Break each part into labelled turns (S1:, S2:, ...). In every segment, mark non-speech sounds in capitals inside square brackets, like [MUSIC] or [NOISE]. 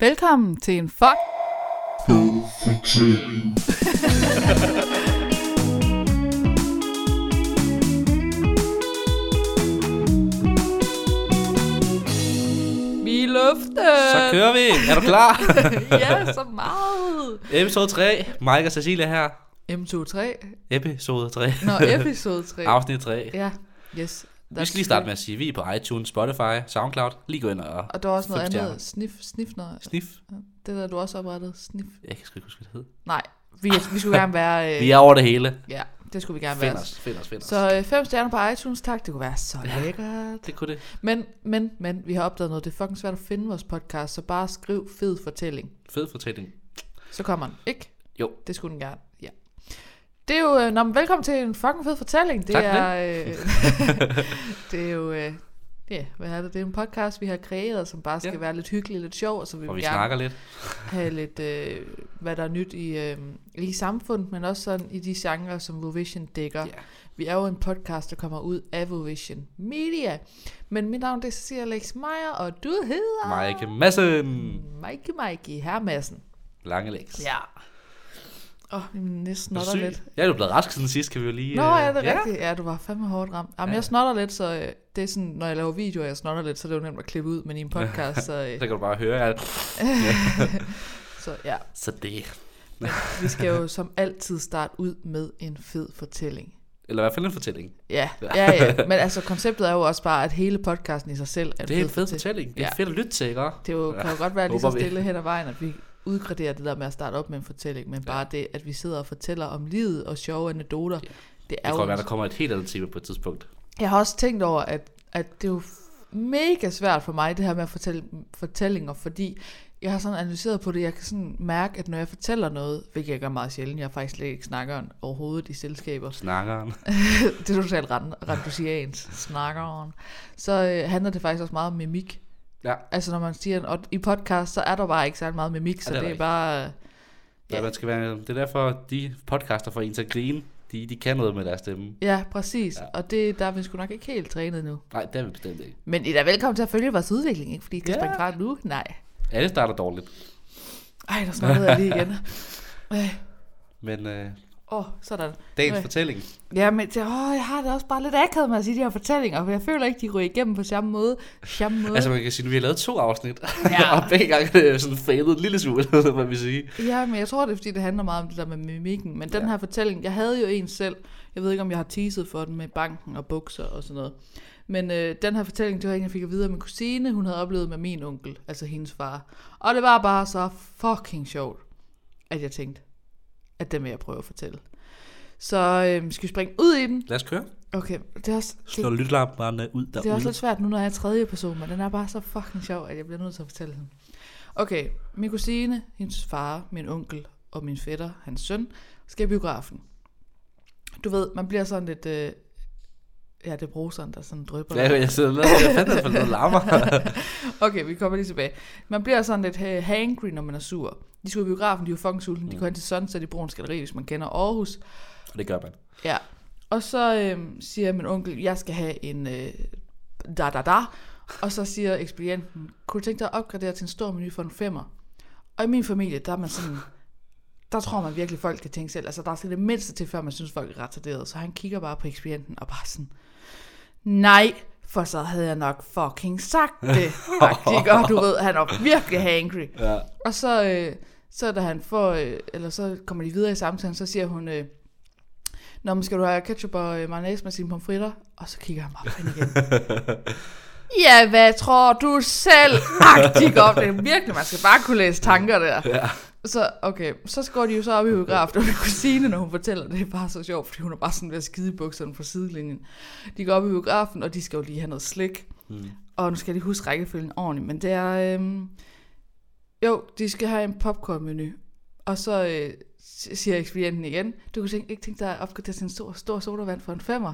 S1: Velkommen til en fuck. Vi er i luften.
S2: Så
S1: [LAUGHS]
S2: kører vi. Er du klar? [LAUGHS]
S1: ja, så meget.
S2: episode 3. Mike og Cecilia her.
S1: M23.
S2: Episode 3. [LAUGHS]
S1: Nå, episode 3.
S2: Afsnit 3.
S1: ja, yes.
S2: Vi skal lige starte med at sige, at vi er på iTunes, Spotify, Soundcloud. Lige gå ind og
S1: Og der er også noget
S2: Fem stjerner.
S1: andet. Snif, snifner.
S2: sniff.
S1: Det der, du også oprettede. Snif.
S2: Jeg kan sgu ikke huske, hvad det hed.
S1: Nej, vi, vi skulle gerne være... Øh,
S2: Vi er over det hele.
S1: Ja, det skulle vi gerne
S2: Find
S1: være.
S2: os, find os, find os.
S1: Så øh, fem stjerner på iTunes, tak. Det kunne være så lækkert.
S2: Det kunne det.
S1: Men, men, men, vi har opdaget noget. Det er fucking svært at finde vores podcast, så bare skriv fed fortælling.
S2: Fed fortælling.
S1: Så kommer den, ikke?
S2: Jo.
S1: Det skulle den gerne, ja. Det er jo, øh, nå, men velkommen til en fucking fed fortælling. Det
S2: Tak for
S1: er, øh, [LAUGHS] det er jo, øh, ja, hvad er det? Det er en podcast, vi har kreeret, som bare skal
S2: Ja.
S1: ja. være lidt hyggelig, lidt sjov, og så vil
S2: Og
S1: vi,
S2: vi
S1: gerne
S2: snakker lidt.
S1: have lidt, øh, hvad der er nyt i, øh, i samfundet, men også sådan i de genrer, som Vovision dækker.
S2: Ja.
S1: Vi er jo en podcast, der kommer ud af Vovision Media. Men mit navn det er Cecilia Alex Meyer, og du hedder...
S2: Mike Madsen.
S1: Mikey Mikey Hermassen.
S2: Lange lægs.
S1: Ja. Åh, oh, næsten
S2: Er du
S1: snotter
S2: syg?
S1: lidt.
S2: Ja, du er blevet rask siden sidst, kan vi jo lige...
S1: Nå,
S2: øh,
S1: er det
S2: ja.
S1: rigtigt? Ja, du var fandme hårdt ramt. Jamen,
S2: Ja.
S1: jeg snotter lidt, så øh, det er sådan, når jeg laver videoer, jeg snotter lidt, så er det jo nemt at klippe ud, men i en
S2: [LAUGHS]
S1: podcast, så,
S2: Så
S1: øh,
S2: kan du bare høre, at...
S1: så ja.
S2: Så det...
S1: Vi skal jo som altid starte ud med en fed fortælling.
S2: Eller i hvert fald en fortælling.
S1: Ja, ja, ja. Men altså, konceptet er jo også bare, at hele podcasten i sig selv er en
S2: Det er en fed
S1: fortæl-
S2: fortælling. Det er
S1: Ja.
S2: fedt at lytte til, ikke?
S1: Det er jo, kan jo godt være lige så
S2: håber vi.
S1: stille hen ad vejen, at vi udgraderer det der med at starte op med en fortælling, men bare det, at vi sidder og fortæller om livet og sjove anekdoter, det er
S2: Det
S1: jo...
S2: kan være, der kommer et helt andet tema på et tidspunkt.
S1: Jeg har også tænkt over, at, at det er jo mega svært for mig, det her med at fortælle fortællinger, fordi jeg har sådan analyseret på det, jeg kan sådan mærke, at når jeg fortæller noget, hvilket jeg gør meget sjældent, jeg er faktisk slet ikke snakkeren overhovedet i selskaber,
S2: Snakkeren.
S1: det er totalt rand- randusians, snakkeren, så øh, handler det faktisk også meget om mimik.
S2: Ja.
S1: Altså når man siger, og i podcast, så er der bare ikke særlig meget mimik, så
S2: det
S1: det
S2: er der
S1: er
S2: ikke.
S1: bare... øh,
S2: Ja. Man skal være, det er derfor, at de podcaster får en til at grine. De, de kan noget med deres stemme.
S1: Ja, præcis. Ja. Og det, der er vi sgu nok ikke helt trænet nu.
S2: Nej, det er vi bestemt ikke.
S1: Men I er da velkommen til at følge vores udvikling, ikke? Fordi I kan
S2: Ja.
S1: springe fra nu. Nej.
S2: Alle starter dårligt.
S1: Ej, der smager jeg lige
S2: [LAUGHS]
S1: igen. Øh,
S2: Men
S1: Åh,
S2: øh,
S1: øh, oh, sådan.
S2: dagens
S1: Øh.
S2: fortælling,
S1: Ja, men det, åh, jeg har det også bare lidt akavet med at sige de her fortællinger, for jeg føler ikke, de ryger igennem på samme måde. Samme måde.
S2: altså man kan sige, at vi har lavet to afsnit,
S1: Mm. Ja.
S2: [LAUGHS] og begge gange er det sådan failed en lille smule, [LAUGHS] som man vil sige.
S1: Ja, men jeg tror, det er, fordi det handler meget om det der med mimikken. Men den
S2: Ja.
S1: her fortælling, jeg havde jo en selv. Jeg ved ikke, om jeg har teaset for den med banken og bukser og sådan noget. Men øh, den her fortælling, det var en, jeg fik at vide af min kusine, hun havde oplevet med min onkel, altså hendes far. Og det var bare så fucking sjovt, at jeg tænkte, at den vil jeg prøve at fortælle. Så øh, skal vi springe ud i den?
S2: Lad os køre.
S1: Okay, det er også, det,
S2: Slå lytlamperne ud derude.
S1: det er også lidt svært nu, når jeg er tredje person, men den er bare så fucking sjov, at jeg bliver nødt til at fortælle den. Okay, min kusine, hendes far, min onkel og min fætter, hans søn, skal i biografen. Du ved, man bliver sådan lidt... Øh, ja, det er bruseren, der sådan drypper.
S2: Ja, jeg sidder med, jeg fandt i hvert fald noget larmer.
S1: Okay, vi kommer lige tilbage. Man bliver sådan lidt øh, hangry, når man er sur. De skulle i biografen, de var fucking sultne.
S2: Mm.
S1: De kunne hen til Sunset i Bruns Galeri, hvis man kender Aarhus.
S2: [LAUGHS] Og det gør man.
S1: Ja. Og så øhm, siger min onkel, jeg skal have en øh, da da da. Og så siger ekspedienten, kunne du tænke dig at opgradere til en stor menu for en femmer? Og i min familie, der er man sådan, der tror man virkelig, folk kan tænke selv. Altså, der skal det mindste til, før man synes, folk er retarderede. Så han kigger bare på ekspedienten og bare sådan, nej, for så havde jeg nok fucking sagt det. Faktisk, og du ved, han er virkelig hangry.
S2: Ja.
S1: Og så, øh, så da han får, øh, eller så kommer de videre i samtalen, så siger hun, øh, Nå, men skal du have ketchup og øh, mayonnaise med sine pomfritter? Og så kigger han bare på hende igen. [LAUGHS] ja, hvad tror du selv? Agtig godt. Det er virkelig, man skal bare kunne læse tanker der.
S2: Ja.
S1: Så, okay, så går de jo så op i biografen, og min kusine, når hun fortæller, det er bare så sjovt, fordi hun er bare sådan ved at skide i bukserne fra sidelinjen. De går op i biografen, og de skal jo lige have noget slik.
S2: Mm.
S1: Og nu skal jeg lige huske rækkefølgen ordentligt, men det er... Øhm, jo, de skal have en popcornmenu. Og så øh, s- siger ekspedienten igen, du kunne tænke, ikke tænke dig at opgradere til en stor, stor sodavand for en femmer.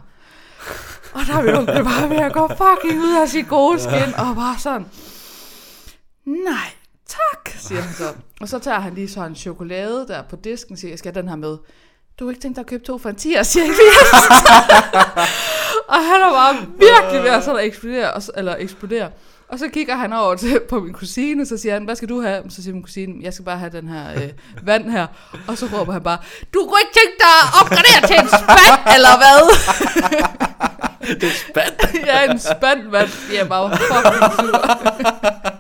S1: Og der er vi onkel bare ved at gå fucking ud af sit gode skin, og bare sådan, nej, tak, siger han så. Og så tager han lige så en chokolade der på disken,
S2: [LAUGHS]
S1: og siger, jeg skal have den her med. Du har ikke tænkt dig at købe to for en 10'er, siger ekspedienten. Og han er bare virkelig ved at sådan
S2: Øh.
S1: at eksplodere, og, så- eller eksplodere. Og så kigger han over til, på min kusine, så siger han, hvad skal du have? Så siger min kusine, jeg skal bare have den her øh, vand her. Og så råber han bare, du kunne ikke tænke dig at opgradere til en spand, eller hvad?
S2: [LAUGHS] Det er spændt.
S1: [LAUGHS] ja, en spand vand. Jeg er bare fucking sur.
S2: [LAUGHS]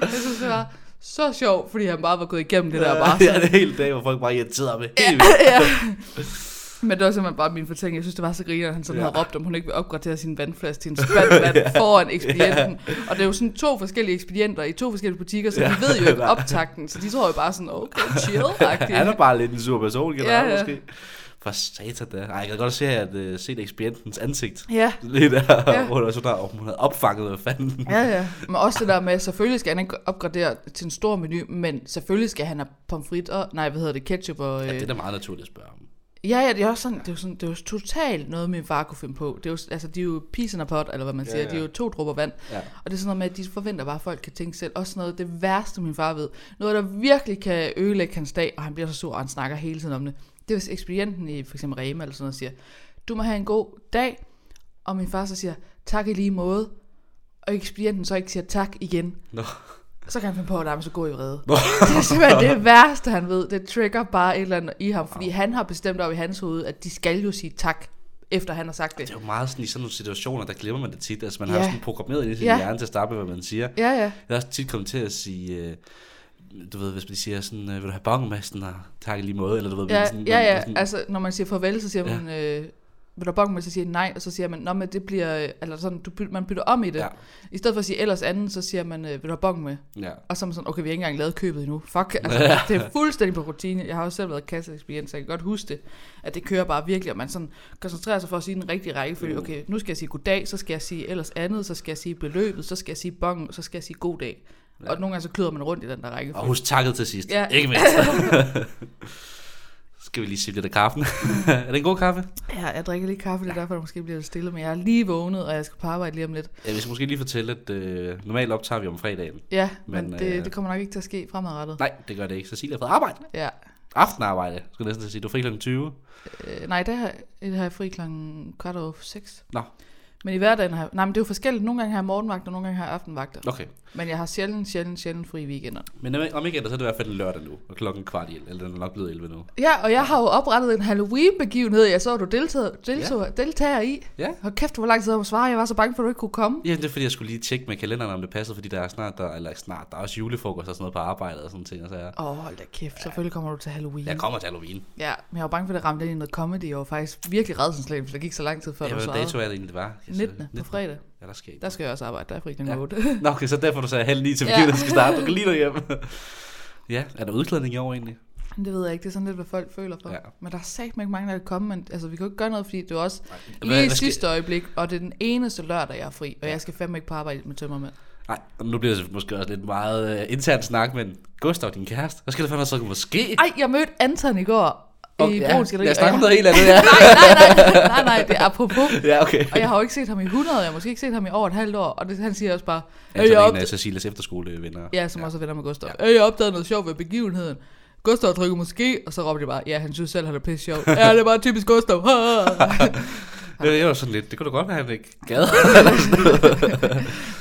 S1: jeg synes, det var så sjovt, fordi han bare var gået igennem det der bare.
S2: [LAUGHS] Ja, det er hele dag, hvor folk bare irriterer mig.
S1: [LAUGHS]
S2: Helt vildt.
S1: ja. [LAUGHS] Men det var simpelthen bare min fortælling. Jeg synes, det var så griner, at han sådan
S2: Ja.
S1: ja. havde råbt, om hun ikke vil opgradere sin vandflaske til en spand
S2: [LAUGHS]
S1: vand foran ekspedienten. Og det er jo sådan to forskellige ekspedienter i to forskellige butikker, så
S2: Ja.
S1: de ved jo
S2: [LAUGHS]
S1: ikke
S2: Nej.
S1: optakten. Så de tror jo bare sådan, okay, chill
S2: Han er bare lidt en sur person, generelt ja,
S1: Ja,
S2: ja.
S1: ja.
S2: måske. For satan da. Ej, jeg kan godt se, at uh, se det ekspedientens ansigt.
S1: Ja,
S2: Lige der, ja.
S1: Ja.
S2: [LAUGHS] hvor der så der, om hun havde opfanget, hvad fanden.
S1: ja, ja. Men også det der med, selvfølgelig skal han ikke opgradere til en stor menu, men selvfølgelig skal han have pomfrit og, nej, hvad hedder det, ketchup og...
S2: Ja,
S1: øh,
S2: det er da meget naturligt at spørge om.
S1: Ja, ja, det er også sådan, det er jo sådan, det er jo totalt noget, min far kunne finde på. Det er jo, altså, de er jo peas in a pot, eller hvad man
S2: Ja,
S1: siger. Ja,
S2: ja.
S1: ja. De er jo to dråber vand.
S2: Ja.
S1: Og det er sådan noget med, at de forventer bare, at folk kan tænke selv. Også sådan noget, det værste, min far ved. Noget, der virkelig kan ødelægge hans dag, og han bliver så sur, og han snakker hele tiden om det. Det er, hvis ekspedienten i for eksempel Rema eller sådan noget siger, du må have en god dag. Og min far så siger, tak i lige måde. Og ekspedienten så ikke siger tak igen.
S2: Nå.
S1: Så kan han finde på, at der er så god i
S2: [LAUGHS]
S1: vrede.
S2: Nå.
S1: Det er simpelthen det værste, han ved. Det trigger bare et eller andet i ham, fordi han har bestemt op i hans hoved, at de skal jo sige tak, efter han har sagt
S2: Det
S1: det.
S2: er jo meget sådan i sådan nogle situationer, der glemmer man det tit. Altså man har
S1: Ja.
S2: jo sådan programmeret ind i sin
S1: Ja.
S2: hjerne til at starte med, hvad man siger.
S1: Ja, ja.
S2: Jeg har også tit kommet til at sige, øh, du ved, hvis man siger sådan, øh, vil du have bongen med? Sådan, "Nej, tak i lige måde, eller du ved,
S1: Ja,
S2: sådan,
S1: ja, ja.
S2: sådan,
S1: Altså, når man siger farvel, så siger
S2: Ja.
S1: man, øh, vil du bokke med, så siger man nej, og så siger man, nå, men det bliver, øh, eller sådan, du, byt- man bytter om i det.
S2: Ja.
S1: I stedet for at sige ellers anden, så siger man, øh, vil du bokke med?
S2: ja.
S1: Og så er man sådan, okay, vi har ikke engang lavet købet endnu.
S2: [LAUGHS]
S1: Fuck, altså, ja. det er fuldstændig på rutine. Jeg har også selv været kasseekspedient, så jeg kan godt huske det, at det kører bare virkelig, og man sådan koncentrerer sig for at sige den rigtige rækkefølge.
S2: Mm.
S1: Okay, nu skal jeg sige goddag, så skal jeg sige ellers andet, så skal jeg sige beløbet, så skal jeg sige bongen, så skal jeg sige god dag. Ja. Og nogle gange så kløder man rundt i den der
S2: Og
S1: rækkefølge.
S2: husk takket til sidst. Ja.
S1: Ja. [LAUGHS]
S2: Ikke mindst. Så skal vi lige sige lidt af kaffen. [LAUGHS] er det en god kaffe?
S1: Ja, jeg drikker lige kaffe, det er derfor, der måske bliver lidt stille, men jeg er lige vågnet, og jeg skal på arbejde lige om lidt.
S2: Ja, vi skal måske lige fortælle, at øh, normalt optager vi om fredagen.
S1: Ja,
S2: Men,
S1: men, men det,
S2: øh,
S1: det kommer nok ikke til at ske fremadrettet.
S2: Nej, det gør det ikke. Cecilia har fået arbejde.
S1: Ja.
S2: Aftenarbejde, skulle jeg næsten til at sige. Du er fri kl. 20.
S1: Øh, nej, det har, det har jeg fri klokken kvart over seks.
S2: Nå.
S1: Men i hverdagen har jeg... Nej, men det er jo forskelligt. Nogle gange har jeg morgenvagt, og nogle gange har jeg aftenvagter.
S2: Okay.
S1: Men jeg har sjældent, sjældent, sjældent fri i weekender.
S2: Men om- om ikke andet, så er det i hvert fald en lørdag nu. Og klokken kvart i 11, eller den er nok blevet 11 nu.
S1: Ja, og jeg har jo oprettet en Halloween-begivenhed, jeg så, du deltog, deltog, ja. deltager i.
S2: Ja.
S1: Hold kæft, hvor lang tid jeg svare. Jeg var så bange for, at du ikke kunne komme.
S2: Ja, det er fordi, jeg skulle lige tjekke med kalenderen, om det passede, fordi der er snart, der, eller ikke snart, der er også julefrokost og sådan noget på arbejdet og sådan ting. Og så er
S1: Åh, oh, hold da kæft. Selvfølgelig kommer du til Halloween.
S2: jeg kommer til Halloween.
S1: Ja, men jeg var bange for, at det ramte ind i noget comedy. Jeg var faktisk virkelig redsenslagen, for det gik så lang tid før,
S2: Ja,
S1: du
S2: hvad
S1: svarede.
S2: dato er det egentlig, det var? Jeg siger,
S1: 19. på fredag.
S2: Ja, der sker ikke.
S1: Der skal jeg også arbejde. Der er fri
S2: Ja.
S1: klokken 8.
S2: Nå, okay, så derfor du sagde halv ni til
S1: Ja.
S2: begivenheden skal starte. Du kan lige
S1: [LAUGHS]
S2: derhjemme. ja, er der udklædning i år egentlig?
S1: Det ved jeg ikke, det er sådan lidt, hvad folk føler for.
S2: Ja.
S1: Ja. Men der er sagt ikke mange, der kan komme, men altså, vi kan jo ikke gøre noget, fordi det er jo også
S2: Hvad-
S1: lige i
S2: hvad skal-
S1: sidste øjeblik, og det er den eneste lørdag, jeg er fri, og jeg skal fandme ikke på arbejde med tømmermænd.
S2: Nej, og nu bliver det måske også lidt meget uh, intern snak, men Gustav, din kæreste, hvad skal der fandme så måske?
S1: Ej, jeg mødte Anton i går okay, i
S2: ja,
S1: Bruns Galeri.
S2: lad os
S1: og
S2: snakke om
S1: jeg-
S2: noget helt andet, ja.
S1: Nej, nej, nej, nej, nej, det er apropos.
S2: [LAUGHS] ja, okay.
S1: Og jeg har jo ikke set ham i 100, jeg har måske ikke set ham i over et halvt år, og det, han siger også bare,
S2: Altså,
S1: jeg
S2: det er en
S1: opdagede-
S2: af Cecilias efterskolevenner.
S1: Ja, som ja. også er venner med Gustav. Ja. Jeg opdagede noget sjovt ved begivenheden. Gustav trykker måske, og så råbte jeg bare, ja, han synes selv, han er pisse sjov. Ja, det er bare typisk Gustav. [LAUGHS]
S2: Det, det var sådan lidt, det kunne du godt være, han ikke
S1: [LAUGHS]
S2: gad.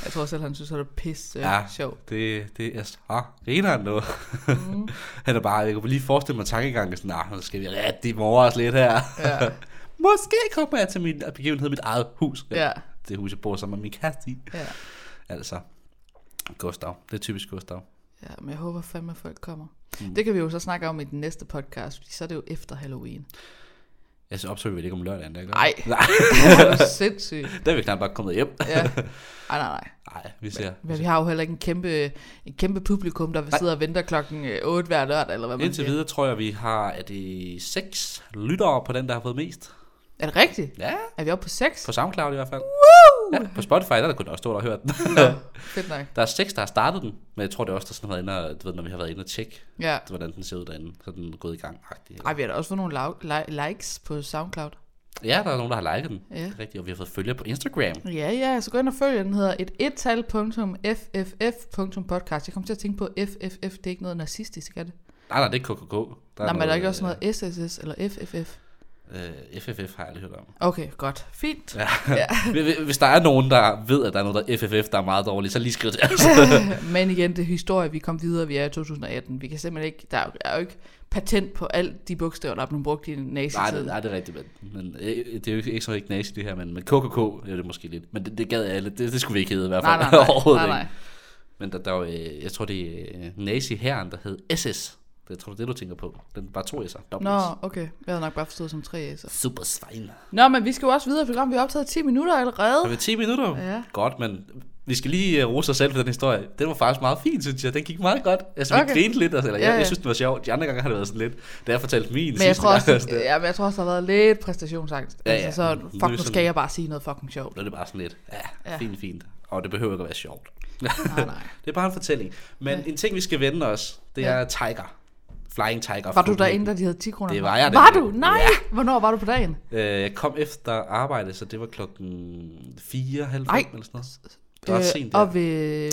S1: jeg tror selv, han synes, han er pisse
S2: Ja.
S1: ja. sjov.
S2: det, det er så grineren nu. Mm. [LAUGHS] han er bare, jeg kunne lige forestille mig tankegangen, sådan, nah, nu skal vi rigtig morre os lidt her.
S1: Ja.
S2: [LAUGHS] Måske kommer jeg til min begivenhed, mit eget hus.
S1: Ja.
S2: Det hus, jeg bor sammen med min kæreste i.
S1: Ja.
S2: Altså, Gustav. Det er typisk Gustav.
S1: ja, men jeg håber fandme, at folk kommer. Mm. Det kan vi jo så snakke om i den næste podcast, fordi så er det jo efter
S2: [LAUGHS]
S1: Halloween.
S2: Jeg så opsøger vi det ikke om lørdagen, der,
S1: Nej.
S2: [LAUGHS] Nej,
S1: Det er jo sindssygt.
S2: der er vi knap bare kommet hjem.
S1: Ja. Ej, nej, nej.
S2: Nej, vi ser.
S1: Men vi har jo heller ikke en kæmpe, en kæmpe publikum, der sidder og venter klokken 8 hver lørdag, eller hvad man
S2: Indtil
S1: siger.
S2: videre tror jeg, vi har, er det seks lyttere på den, der har fået mest?
S1: Er det rigtigt?
S2: Ja,
S1: Er vi oppe på 6?
S2: på SoundCloud i hvert fald.
S1: Woo!
S2: Ja, på Spotify, der er der kun også stå der og høre [LAUGHS] den.
S1: Nå, fedt nok.
S2: Der er seks, der har startet den, men jeg tror, det er også der sådan har været inde, og, du ved, når vi har været inde og tjekke,
S1: Ja.
S2: hvordan den ser ud derinde, så er den gået i gang. -agtig.
S1: Ej, vi har da også fået nogle lau- li- likes på SoundCloud.
S2: Ja, der er nogen, der har liket den.
S1: Ja.
S2: Det er rigtigt, og vi har fået følger på Instagram.
S1: Ja, ja, så gå ind og følg, den. den hedder et ettal.fff.podcast. Jeg kom til at tænke på FFF, det er ikke noget nazistisk, er det?
S2: Nej, nej, det er KKK.
S1: Nej,
S2: Der
S1: men er der
S2: noget,
S1: ikke også
S2: øh,
S1: noget SSS eller FFF?
S2: Øh, FFF har jeg aldrig hørt om. [LAUGHS]
S1: Okay, godt. Fint. Ja.
S2: Hvis- Hvis der er nogen, der ved, at der er noget, der er FFF, der er meget dårligt, så lige skriv til os.
S1: [LAUGHS]
S2: [LAUGHS]
S1: Men igen, det er historie, vi kom videre, vi er i 2018. Vi kan simpelthen ikke, der er jo, der er jo ikke patent på alt de bogstaver, der er blevet brugt i
S2: nej,
S1: nazitiden.
S2: det, nej, det er rigtigt, men, men øh, det er jo ikke, ikke så ikke nazi det her, men, men KKK er det måske lidt. Men det, det gad jeg alle. Det, det skulle vi ikke hedde i hvert
S1: nej, nej,
S2: fald.
S1: nej,
S2: [LAUGHS] Overhovedet
S1: nej,
S2: ikke.
S1: nej.
S2: Men der, der var, øh, jeg tror, det er nazi herren der hed SS. Det tror, det er det, du tænker på. Den var to S'er. Dobbelt S.
S1: Nå, okay. Jeg havde nok bare forstået som 3 så.
S2: Super svin.
S1: Nå, men vi skal jo også videre i programmet. Vi har optaget 10 minutter allerede.
S2: Har vi 10 minutter?
S1: Ja.
S2: Godt, men vi skal lige øh, rose os selv for den historie. Den var faktisk meget fin, synes jeg. Den gik meget godt. Altså, vi
S1: Okay.
S2: grinede lidt. Altså, eller,
S1: Ja,
S2: jeg,
S1: ja.
S2: jeg, synes, den var sjov. De andre gange har det været sådan lidt, da jeg fortalte min
S1: Men jeg,
S2: sidste
S1: tror også,
S2: [LAUGHS] gang, sådan lidt.
S1: ja, men jeg tror også, der har været lidt præstationsangst.
S2: Ja,
S1: Ja,
S2: ja.
S1: ja. Altså, så
S2: Nu er
S1: fuck,
S2: det
S1: nu skal
S2: sådan-
S1: jeg bare sige noget fucking sjovt.
S2: Nu er det bare sådan lidt, ja,
S1: Ja.
S2: fint, fint. Og det behøver ikke at være sjovt.
S1: Nej, nej.
S2: [LAUGHS] Det er bare en fortælling. Men en ting, vi skal vende os, det
S1: Ja.
S2: er Tiger. Flying Tiger.
S1: Var du derinde, da de havde 10 kroner?
S2: Det var jeg
S1: Var
S2: nemlig.
S1: du? Nej! Ja. Hvornår var du på dagen?
S2: Øh, jeg kom efter arbejde, så det var klokken 4, halv fem
S1: Nej.
S2: eller sådan noget. Det var ret sent,
S1: og
S2: ja.
S1: Øh, ved...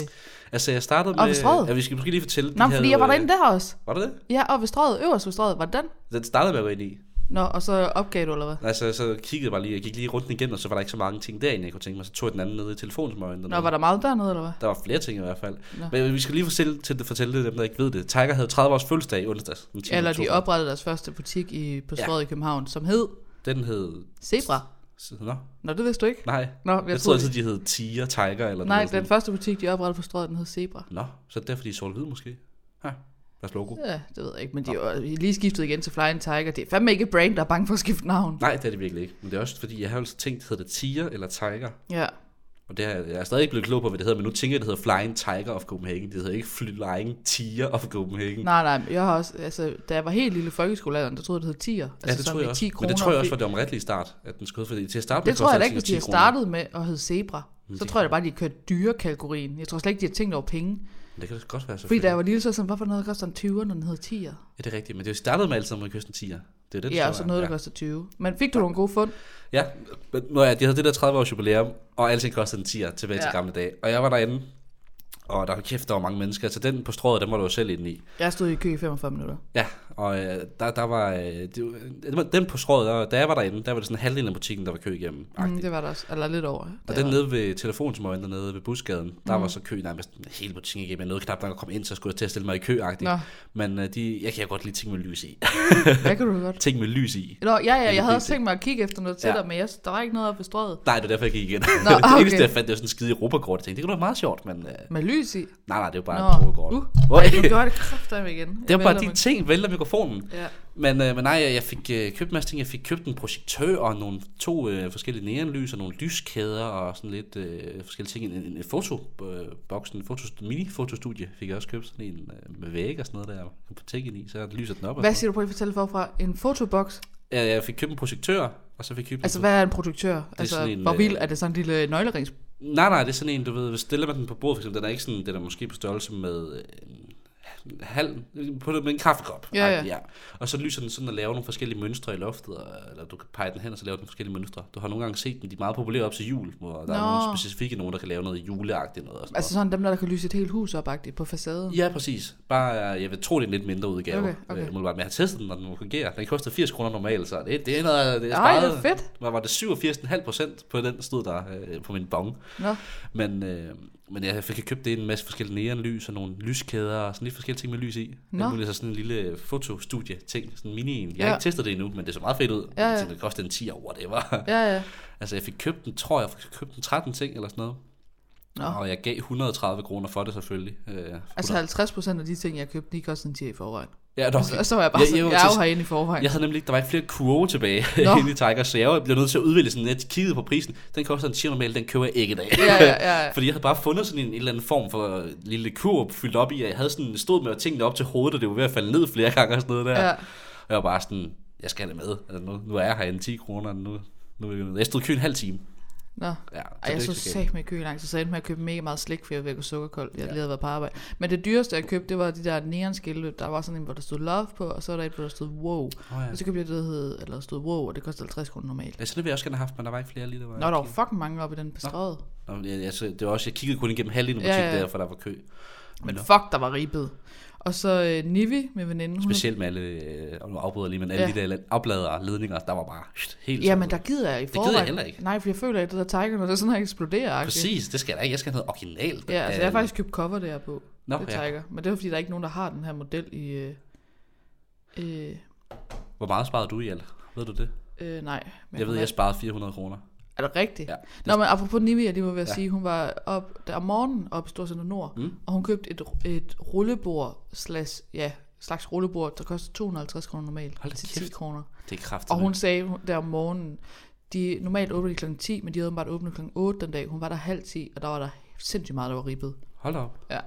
S2: Altså, jeg startede
S1: og
S2: med...
S1: ved Strøget.
S2: Ja, vi skal måske lige fortælle... de
S1: Nå,
S2: havde,
S1: fordi jeg var
S2: øh,
S1: derinde der også.
S2: Var det det?
S1: Ja, og ved strøget, øverst ved strøget. Var det den?
S2: Den startede med at gå ind i.
S1: Nå, og så opgav du, eller hvad?
S2: Altså, så kiggede jeg bare lige, jeg gik lige rundt igennem, og så var der ikke så mange ting derinde, jeg kunne tænke mig. Så tog jeg den anden nede i telefonsmøgen.
S1: Nå, var der meget dernede, eller hvad?
S2: Der var flere ting i hvert fald.
S1: Nå.
S2: Men vi skal lige fortælle, til det, fortælle det, dem, der ikke ved det. Tiger havde 30 års fødselsdag i onsdags. den 10.
S1: Eller de
S2: oktober.
S1: oprettede deres første butik i, på
S2: Ja.
S1: strøget i København, som hed
S2: Den hed...
S1: Zebra.
S2: Nå,
S1: Nå, det vidste du ikke.
S2: nej.
S1: Nå, jeg,
S2: Jeg troede
S1: troede,
S2: altid, de hed Tiger, Tiger eller
S1: Nej,
S2: noget
S1: den
S2: sådan.
S1: første butik, de oprettede på strøget, den hed Zebra.
S2: Nå, så er det derfor, de er sort måske. Ja, deres logo.
S1: Ja, det ved jeg ikke, men de er jo lige skiftet igen til Flying Tiger. Det er fandme ikke et brand, der er bange for at skifte navn.
S2: Nej, det er det virkelig ikke. Men det er også fordi, jeg har jo altid tænkt, hedder det Tiger eller Tiger?
S1: Ja.
S2: Og det har, jeg er stadig ikke blevet klog på, hvad det hedder, men nu tænker jeg, det hedder Flying Tiger of Copenhagen. Det hedder ikke Flying Tiger of Copenhagen.
S1: Nej, nej, men jeg har også, altså, da jeg var helt lille i folkeskolealderen, der troede jeg, det hed 10'er. Altså,
S2: ja, det
S1: sådan
S2: tror
S1: med
S2: jeg også.
S1: 10
S2: Men
S1: kroner.
S2: det tror jeg også var
S1: fordi-
S2: det omrettelige start, at den skulle hedde, fordi til at starte med
S1: det tror jeg da
S2: kostede
S1: ikke, hvis de
S2: den
S1: har
S2: sikkert 10 kroner. Mm.
S1: startet med at hedde Zebra. Så
S2: det
S1: tror jeg da bare, de kørte dyrekategorien. Jeg tror slet ikke, de har tænkt over penge.
S2: Men Det kan da godt være så
S1: Fordi da jeg var lille, så var jeg sådan, hvorfor noget koster en 20'er, når den hedder 10'er?
S2: Ja, det er rigtigt, men det er jo startet med alt sammen med kysten 10'er. Det er det,
S1: Ja, og så noget, der
S2: ja.
S1: koster 20. Men fik du nogle gode fund?
S2: Ja, men når jeg, de havde det der 30 års jubilæum, og alting kostede en 10'er tilbage ja. til
S1: Ja.
S2: gamle dage. Og jeg var derinde, og der var kæft, der var mange mennesker. Så den på strået, den var du jo selv inde i.
S1: Jeg stod i kø i 45 minutter.
S2: Ja, og øh, der, der var... Øh, det, var- det var- den på strået, der, da jeg var derinde, der var det sådan halvdelen af butikken, der var kø igennem.
S1: Mm, det var der også, eller lidt over.
S2: Og den nede ved telefonsmøgen dernede ved busgaden, der
S1: Mm.
S2: var så kø nærmest hele butikken igennem. Jeg nåede knap nok at komme ind, så skulle jeg til at stille mig i kø
S1: Nå,
S2: Men øh, de, jeg kan jo godt lide ting med lys i. [LAUGHS]
S1: det kan du godt.
S2: ting med lys i.
S1: Nå, ja, ja,
S2: det
S1: jeg havde
S2: er
S1: også tænkt mig at kigge efter noget til
S2: Ja.
S1: dig, men jeg, der var ikke noget oppe ved strøget.
S2: Nej, det var derfor, jeg gik igen. Nå,
S1: ah, okay.
S2: [LAUGHS] det eneste, jeg fandt, det var sådan en skide europakort. Jeg tænkte, det kunne da være meget sjovt, men øh,
S1: Med lys i.
S2: nej, nej, det var bare
S1: Nå,
S2: et europakort.
S1: uh,
S2: Oj.
S1: Ej, du gør det kraftedeme igen.
S2: [LAUGHS] det var bare
S1: Vælter
S2: de ting, vælter mikrofonen.
S1: mig. Ja.
S2: Men, øh, men nej, jeg fik øh, købt en masse ting. Jeg fik købt en projektør og nogle to øh, forskellige neonlys og nogle lyskæder og sådan lidt øh, forskellige ting. En, en, en fotoboks, en fotos, mini-fotostudie fik jeg også købt. Sådan en øh, med væg og sådan noget, der jeg kan putte ting ind i, så lyser den op. og
S1: Hvad
S2: sådan
S1: siger du på at fortælle forfra? En fotoboks?
S2: noget. Øh, Jeg fik købt en projektør, og så fik jeg købt en
S1: Altså, hvad er en produktør? Altså,
S2: sådan en,
S1: hvor
S2: øh,
S1: vild er det sådan en lille nøglerings?
S2: Nej, nej, det er sådan en, du ved, hvis stiller man den på bordet, for eksempel, den er ikke sådan, den er måske på størrelse med øh, en halv, på det med en kaffekop.
S1: Ja, ja.
S2: Ej, ja. Og så lyser den sådan og laver nogle forskellige mønstre i loftet, og, eller du kan pege den hen, og så laver den forskellige mønstre. Du har nogle gange set dem, de er meget populære op til jul, hvor der er
S1: Nå.
S2: nogle specifikke nogen, der kan lave noget juleagtigt noget. Og sådan
S1: Altså sådan dem, der, der kan lyse et helt hus op på facaden.
S2: noget. Ja, præcis. Bare, øh, jeg vil tro, det er en lidt mindre udgave.
S1: Okay, okay.
S2: Øh, umiddelbart. men jeg har testet den, og den fungerer. Den koster 80 kroner normalt, så det, det er noget, det er
S1: Ej, det
S2: sparet.
S1: er fedt.
S2: Hvad var det? 87,5 procent på den stod der øh, på min bong.
S1: Nå.
S2: Men, øh, men jeg fik købt det i en masse forskellige neonlys og nogle lyskæder og sådan lidt forskellige ting med lys i.
S1: Nå.
S2: Nå. Det er sådan en lille fotostudie-ting, sådan en mini en. Jeg har
S1: Ja.
S2: ikke testet det endnu, men det så meget fedt ud.
S1: Ja,
S2: Ja,
S1: ja.
S2: ja. Det kostede en 10 over, det var.
S1: Ja, ja.
S2: altså jeg fik købt den, tror jeg, jeg fik købt den 13 ting eller sådan noget.
S1: Nå.
S2: Og jeg gav 130 kroner for det selvfølgelig. Øh,
S1: Altså
S2: 100.
S1: 50 procent af de ting, jeg købte, de kostede en 10 i forvejen.
S2: ja, dog.
S1: Og så var jeg bare
S2: Ja,
S1: sådan,
S2: jeg var
S1: jeg er jo
S2: til-
S1: herinde i forvejen.
S2: Jeg havde nemlig ikke, der var ikke flere kurve tilbage
S1: Nå.
S2: [LAUGHS] inde i Tiger, så jeg blev nødt til at udvælge sådan lidt kigget på prisen. Den koster en 10 normalt, den køber jeg ikke i dag.
S1: Ja, ja, ja, ja.
S2: [LAUGHS] Fordi jeg havde bare fundet sådan en, en eller anden form for lille kurv fyldt op i, og jeg havde sådan stået med tingene op til hovedet, og det var ved at falde ned flere [LAUGHS] gange og sådan noget der.
S1: Ja.
S2: Og jeg var bare sådan, jeg skal have det med. Altså, nu, nu er jeg herinde 10 kroner, nu, nu er det noget. Jeg stod i kø en halv time.
S1: Nå.
S2: Ja,
S1: Ej, jeg
S2: det er
S1: så
S2: ikke så
S1: sæt med i kø lang tid, så jeg endte med at købe mega meget slik, for jeg var ved sukkerkold. Jeg havde lige været på arbejde. Men det dyreste, jeg købte, det var de der neonskilte. Der var sådan en, hvor der stod love på, og så var der et, hvor der stod wow.
S2: Åh, ja.
S1: Og så købte jeg det, der hed, eller der stod wow, og det kostede 50 kroner normalt.
S2: Ja, så det ville jeg også gerne have haft, men der var ikke flere lige der var.
S1: Nå, der var fucking mange op i den bestræde.
S2: Nå, men jeg, jeg, så- det var også, jeg kiggede kun igennem halvdelen af
S1: Ja,
S2: butikken ja,
S1: ja.
S2: ja. der, for der var kø.
S1: Men fuck, der var ribet. Og så øh, Nivi, min veninde. Hun,
S2: Specielt med alle, øh, og nu afbryder jeg lige, men alle
S1: Ja.
S2: de der la- opladere ledninger, der var bare pst, helt
S1: ja,
S2: sådan
S1: men
S2: noget.
S1: der gider jeg i
S2: altså. gider
S1: forvejen.
S2: jeg heller ikke.
S1: Nej, for jeg føler, at det der Tiger, når det sådan her eksploderer.
S2: Præcis, det skal jeg da ikke. Jeg skal have noget originalt. Øhm,
S1: Ja, altså jeg har faktisk købt cover der på.
S2: Nå,
S1: det
S2: ja.
S1: Tiger. Men det er fordi, der er ikke nogen, der har den her model i... Øh, øh,
S2: Hvor meget sparede du i alt? Ved du det?
S1: øh, nej. Men
S2: Jeg ved,
S1: hun
S2: jeg
S1: er,
S2: sparede 400 kroner.
S1: er det rigtigt?
S2: Ja.
S1: Ja. Nå, men apropos Nivi, jeg lige var ved at
S2: Ja.
S1: ja. sige, hun var op der om morgenen op i Storcenter Nord,
S2: Mm.
S1: mm. og hun købte et, et rullebord slash, ja, slags rullebord, der koster 250 kroner normalt
S2: Hold da
S1: til
S2: kæft.
S1: 10 kroner.
S2: Det er kraftigt.
S1: Og hun sagde hun- der om morgenen, de normalt åbner de kl. 10, men de havde bare åbnet kl. 8 den dag. Hun var der halv 10, og der var der sindssygt meget, der var ribbet.
S2: Hold da op.
S1: Ja.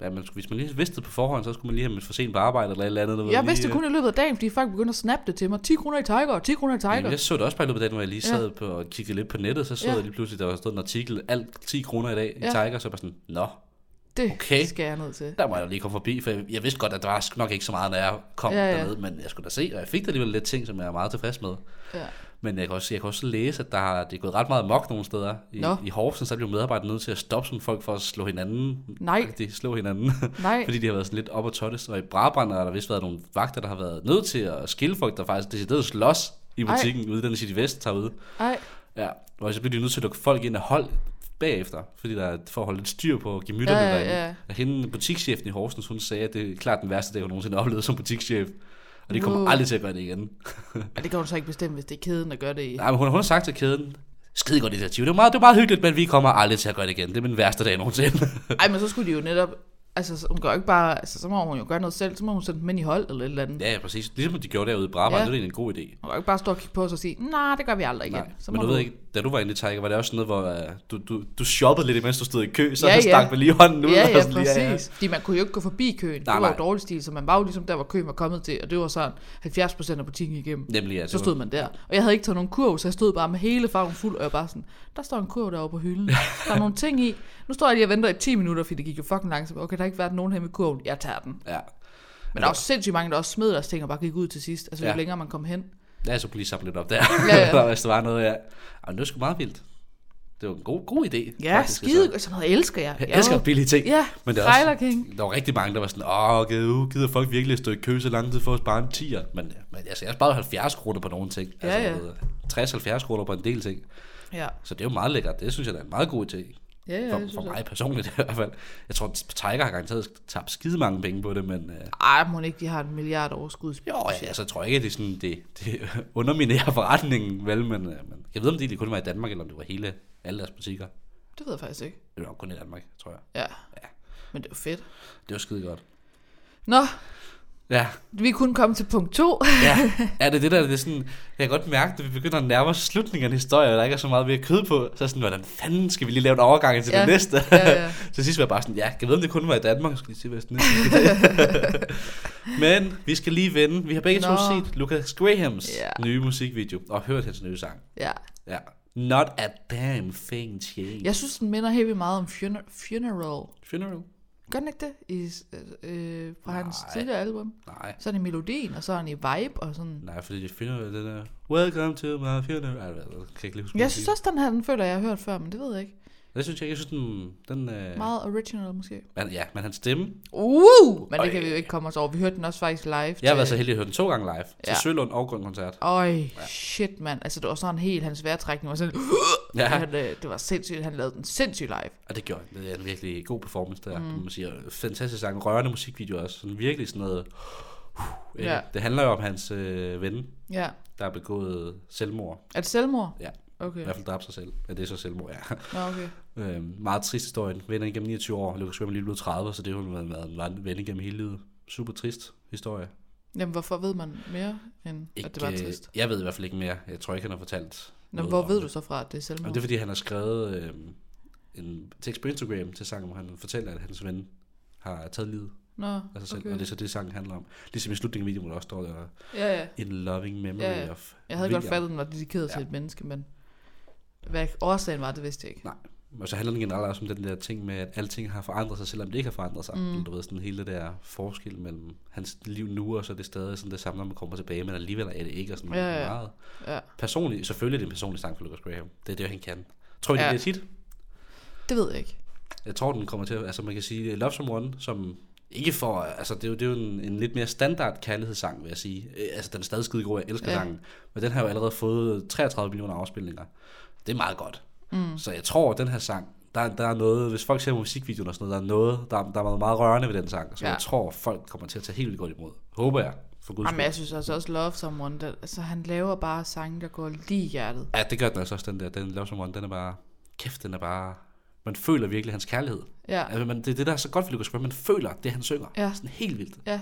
S2: Ja, men skulle- hvis man lige vidste det på forhånd, så skulle man lige have meldt for sent på arbejde eller et eller andet. der var
S1: Jeg
S2: lige,
S1: vidste
S2: øh,
S1: kun i løbet af dagen, fordi folk begyndte at snappe det til mig. 10 kroner i Tiger, 10 kroner i
S2: Jamen,
S1: Tiger.
S2: jeg så det også bare i løbet af dagen, hvor jeg lige
S1: Ja.
S2: sad på, og kiggede lidt på nettet, så så
S1: Ja.
S2: jeg lige pludselig, der var stået en artikel, alt 10 kroner i dag i
S1: Ja.
S2: Tiger, så jeg bare sådan, nå,
S1: Det
S2: Okay.
S1: skal jeg ned til.
S2: der må jeg lige komme forbi, for jeg, jeg vidste godt, at der var sgu nok ikke så meget, når jeg kom ja,
S1: Ja,
S2: ja.
S1: ja.
S2: derned, men jeg skulle da se, og jeg fik da alligevel lidt ting, som jeg er meget tilfreds med.
S1: Ja.
S2: Men jeg kan også, jeg kan også læse, at der har, det er gået ret meget mok nogle steder. I,
S1: Nå.
S2: i Horsens der blev medarbejdere nødt til at stoppe sådan folk for at slå hinanden.
S1: Nej.
S2: De slå hinanden. [LAUGHS]
S1: Nej.
S2: Fordi de har været sådan lidt op og tottes. Og i Brabrand har der vist været nogle vagter, der har været nødt til at skille folk, der faktisk decideret slås i
S1: Ej.
S2: butikken ude i den City Vest herude.
S1: Ej,
S2: Ja, og så bliver de nødt til at lukke folk ind af hold bagefter, fordi der er for at holde lidt styr på gemytterne
S1: Ja, ja,
S2: derinde.
S1: ja.
S2: Og hende, butikschefen i Horsens, hun sagde, at det er klart den værste dag, hun nogensinde har oplevet som butikschef. Og det kommer
S1: Wow.
S2: aldrig til at gøre det igen.
S1: og det kan hun så ikke bestemme, hvis det er kæden, der gør det i.
S2: Nej, men hun, hun har sagt til kæden, skide godt initiativ. Det var, meget, det var meget hyggeligt, men vi kommer aldrig til at gøre det igen. Det er min værste dag nogensinde. [LAUGHS]
S1: Ej, men så skulle de jo netop... Altså, så- hun gør jo ikke bare... Altså, så må hun jo gøre noget selv. Så må hun sende dem ind i hold eller et eller andet.
S2: ja, ja, præcis. Ligesom de gjorde derude i Brabrand, ja.
S1: Ja.
S2: det er egentlig en god idé.
S1: Hun kan jo ikke bare stå og kigge på os og sige, nej, nah, det gør vi aldrig igen.
S2: Nej,
S1: så
S2: men
S1: må
S2: du ved ikke, da du var inde i Tiger, var det også sådan noget, hvor uh, du, du, du shoppede lidt, mens du stod i kø, så
S1: Ja,
S2: ja,
S1: ja.
S2: stak man lige hånden ud.
S1: Ja,
S2: og
S1: ja,
S2: sådan lige,
S1: præcis. Fordi man kunne jo ikke gå forbi køen.
S2: Nej,
S1: det var
S2: nej.
S1: jo dårlig stil, så man var jo ligesom der, hvor køen var kommet til, og det var sådan 70% af butikken igennem.
S2: Nemlig, ja. det
S1: Så
S2: var-
S1: stod man der. Og jeg havde ikke taget nogen kurv, så jeg stod bare med hele farven fuld, og jeg bare sådan, der står en kurv deroppe på
S2: [LAUGHS]
S1: hylden. Der er nogle ting i. Nu står jeg lige og venter i 10 minutter, fordi det gik jo fucking langsomt. Okay, der har ikke været nogen her med kurven. Jeg tager den.
S2: Ja.
S1: Men der var sindssygt mange, der også smed deres ting og bare gik ud til sidst. Altså, jo
S2: Ja.
S1: længere man kom hen.
S2: Ja, så kunne lige samle lidt op der, [LAUGHS]
S1: Ja, ja.
S2: ja, ja. hvis der var noget, ja. Jamen, det var sgu meget vildt. Det var en god, god idé.
S1: Ja,
S2: faktisk,
S1: skide.
S2: altså.
S1: Sådan noget elsker jeg.
S2: Jeg elsker billige ting.
S1: Ja,
S2: men der, er
S1: Frejler
S2: også,
S1: King.
S2: der var rigtig mange, der var sådan, åh, gider, gider folk virkelig stå i kø så lang tid for at spare en 10'er? Men, men altså, jeg sparede 70 kroner på nogle ting.
S1: Ja, ja.
S2: Altså, 60-70 kroner på en del ting.
S1: Ja,
S2: Så det er jo meget lækkert. Det synes jeg, der er en meget god ting.
S1: ja, ja.
S2: For,
S1: det
S2: for
S1: synes jeg.
S2: mig personligt [LAUGHS] i hvert fald. Jeg tror, Tiger har garanteret tabt skide mange penge på det, men... Øh,
S1: Ej, må ikke, de har en milliard overskud.
S2: jo, ja, altså, jeg tror ikke, at det, er sådan, det, det [LAUGHS] underminerer forretningen, vel, men, øh, men jeg ved, om det egentlig kun var i Danmark, eller om det var hele, alle deres butikker.
S1: Det ved jeg faktisk ikke.
S2: Det var nok kun i Danmark, tror jeg.
S1: Ja.
S2: Ja.
S1: Men det er jo fedt.
S2: Det var skide godt.
S1: Nå,
S2: Ja,
S1: vi kunne komme til punkt 2.
S2: ja. ja det er det der, det er sådan, jeg kan godt mærke, at vi begynder at nærme os slutningen af en historie, og der ikke er så meget mere kød på. Så er jeg sådan, hvordan fanden skal vi lige lave en overgang til
S1: Ja.
S2: det næste?
S1: Ja, ja.
S2: [LAUGHS] så sidst var jeg bare sådan, ja, jeg ved, om det kun var i Danmark, jeg skal lige se, hvad jeg sådan
S1: [LAUGHS]
S2: Men vi skal lige vende. Vi har begge to
S1: Nå.
S2: set Lucas Grahams
S1: Ja.
S2: nye musikvideo, og hørt hans nye sang.
S1: [LAUGHS] ja.
S2: Ja. Not a damn thing changed.
S1: Jeg synes, den minder helt vildt meget om funer- Funeral.
S2: Funeral?
S1: Gør den ikke det? I, s- øh, fra hans
S2: Nej.
S1: tidligere album.
S2: Nej.
S1: Sådan i melodien, og sådan i vibe, og sådan.
S2: Nej, fordi det er funeral, det der. Welcome to my funeral. Ej, jeg kan ikke lige huske.
S1: Jeg synes også, den her, den føler jeg, jeg har hørt før, men det ved jeg ikke.
S2: Det synes jeg, ikke. jeg synes, den... den øh,
S1: Meget original måske.
S2: men, ja, men hans stemme.
S1: Uh! Men
S2: Øj.
S1: det kan vi jo ikke komme os over. Vi hørte den også faktisk live.
S2: Jeg har været så heldig at høre den to gange live. Til
S1: Ja.
S2: Sølund og Grøn Koncert.
S1: Øj, shit mand. Altså det var sådan helt, hans vejrtrækning var sådan...
S2: Ja.
S1: Ja. [LAUGHS] Han, øh, det var sindssygt, han lavede den sindssygt live.
S2: Og det gjorde han. Det er en virkelig god performance der. Mm. Man siger, fantastisk sang. Rørende musikvideo også. Sådan virkelig sådan noget... Uh, ja.
S1: Ja.
S2: Det handler jo om hans øh, ven,
S1: Ja.
S2: der har begået selvmord.
S1: Er det selvmord?
S2: Ja. I
S1: Okay.
S2: hvert fald dræbt sig selv. Ja, det er så selvmord, ja.
S1: Nå, okay.
S2: Øh, meget trist historie. Venner igennem 29 år. Lucas Graham er lige blevet 30, så det har hun været, været, været en ven igennem hele livet. Super trist historie.
S1: Jamen, hvorfor ved man mere, end ikke, at det var
S2: øh,
S1: trist?
S2: Jeg ved i hvert fald ikke mere. Jeg tror ikke, han har fortalt
S1: Nå, hvor ved du så fra, at det er selvmord?
S2: Jamen, det er, fordi han har skrevet øh, en tekst på Instagram til sangen, hvor han fortæller, at hans ven har taget livet
S1: Nå,
S2: af sig altså selv. Okay.
S1: okay.
S2: Og det er så det, sangen handler om. Ligesom i slutningen af videoen, hvor der også står der,
S1: Ja, ja.
S2: In loving memory
S1: Ja,
S2: ja,
S1: ja.
S2: of
S1: Jeg havde godt
S2: William."
S1: fattet, at den var dedikeret ja. til et menneske, men hvad årsagen var, det vidste jeg ikke.
S2: Nej. Og så handler den generelt også om den der ting med, at alting har forandret sig, selvom det ikke har forandret sig. Mm. Du ved, sådan hele det der forskel mellem hans liv nu, og så er det stadig sådan det samme, når man kommer tilbage, men alligevel er det ikke. Og sådan
S1: Ja, ja, ja.
S2: meget
S1: Ja.
S2: personligt. Selvfølgelig er det en personlig sang for Lucas Graham. Det er det, han kan. Tror I, det
S1: Ja.
S2: bliver tit?
S1: Det ved jeg ikke.
S2: Jeg tror, den kommer til at... Altså, man kan sige, Love Someone, som Ikke for, altså det er jo, det er jo en, en lidt mere standard kærlighedssang, vil jeg sige. Øh, Altså den er stadig skide god, jeg elsker
S1: Ja.
S2: ja. sangen. Men den har jo allerede fået 33 millioner afspilninger. Det er meget godt. Mm. Så jeg tror, at den her sang, der, der er noget, hvis folk ser musikvideoen og sådan noget, der er noget, der, er- der er noget meget rørende ved den sang. Så
S1: Ja.
S2: ja. jeg tror, folk kommer til at tage helt vildt godt imod. Håber jeg, for guds
S1: Jamen, jeg
S2: skyld.
S1: synes altså også Love Someone, der, altså han laver bare sange, der går lige i hjertet.
S2: Ja, det gør den altså også, den der. Den Love Someone, den er bare, kæft, den er bare, man føler virkelig hans kærlighed.
S1: Ja,
S2: Altså, man, det er det, der er så godt ved Lucas Graham. Man føler det, han synger.
S1: Ja.
S2: Sådan helt vildt.
S1: ja,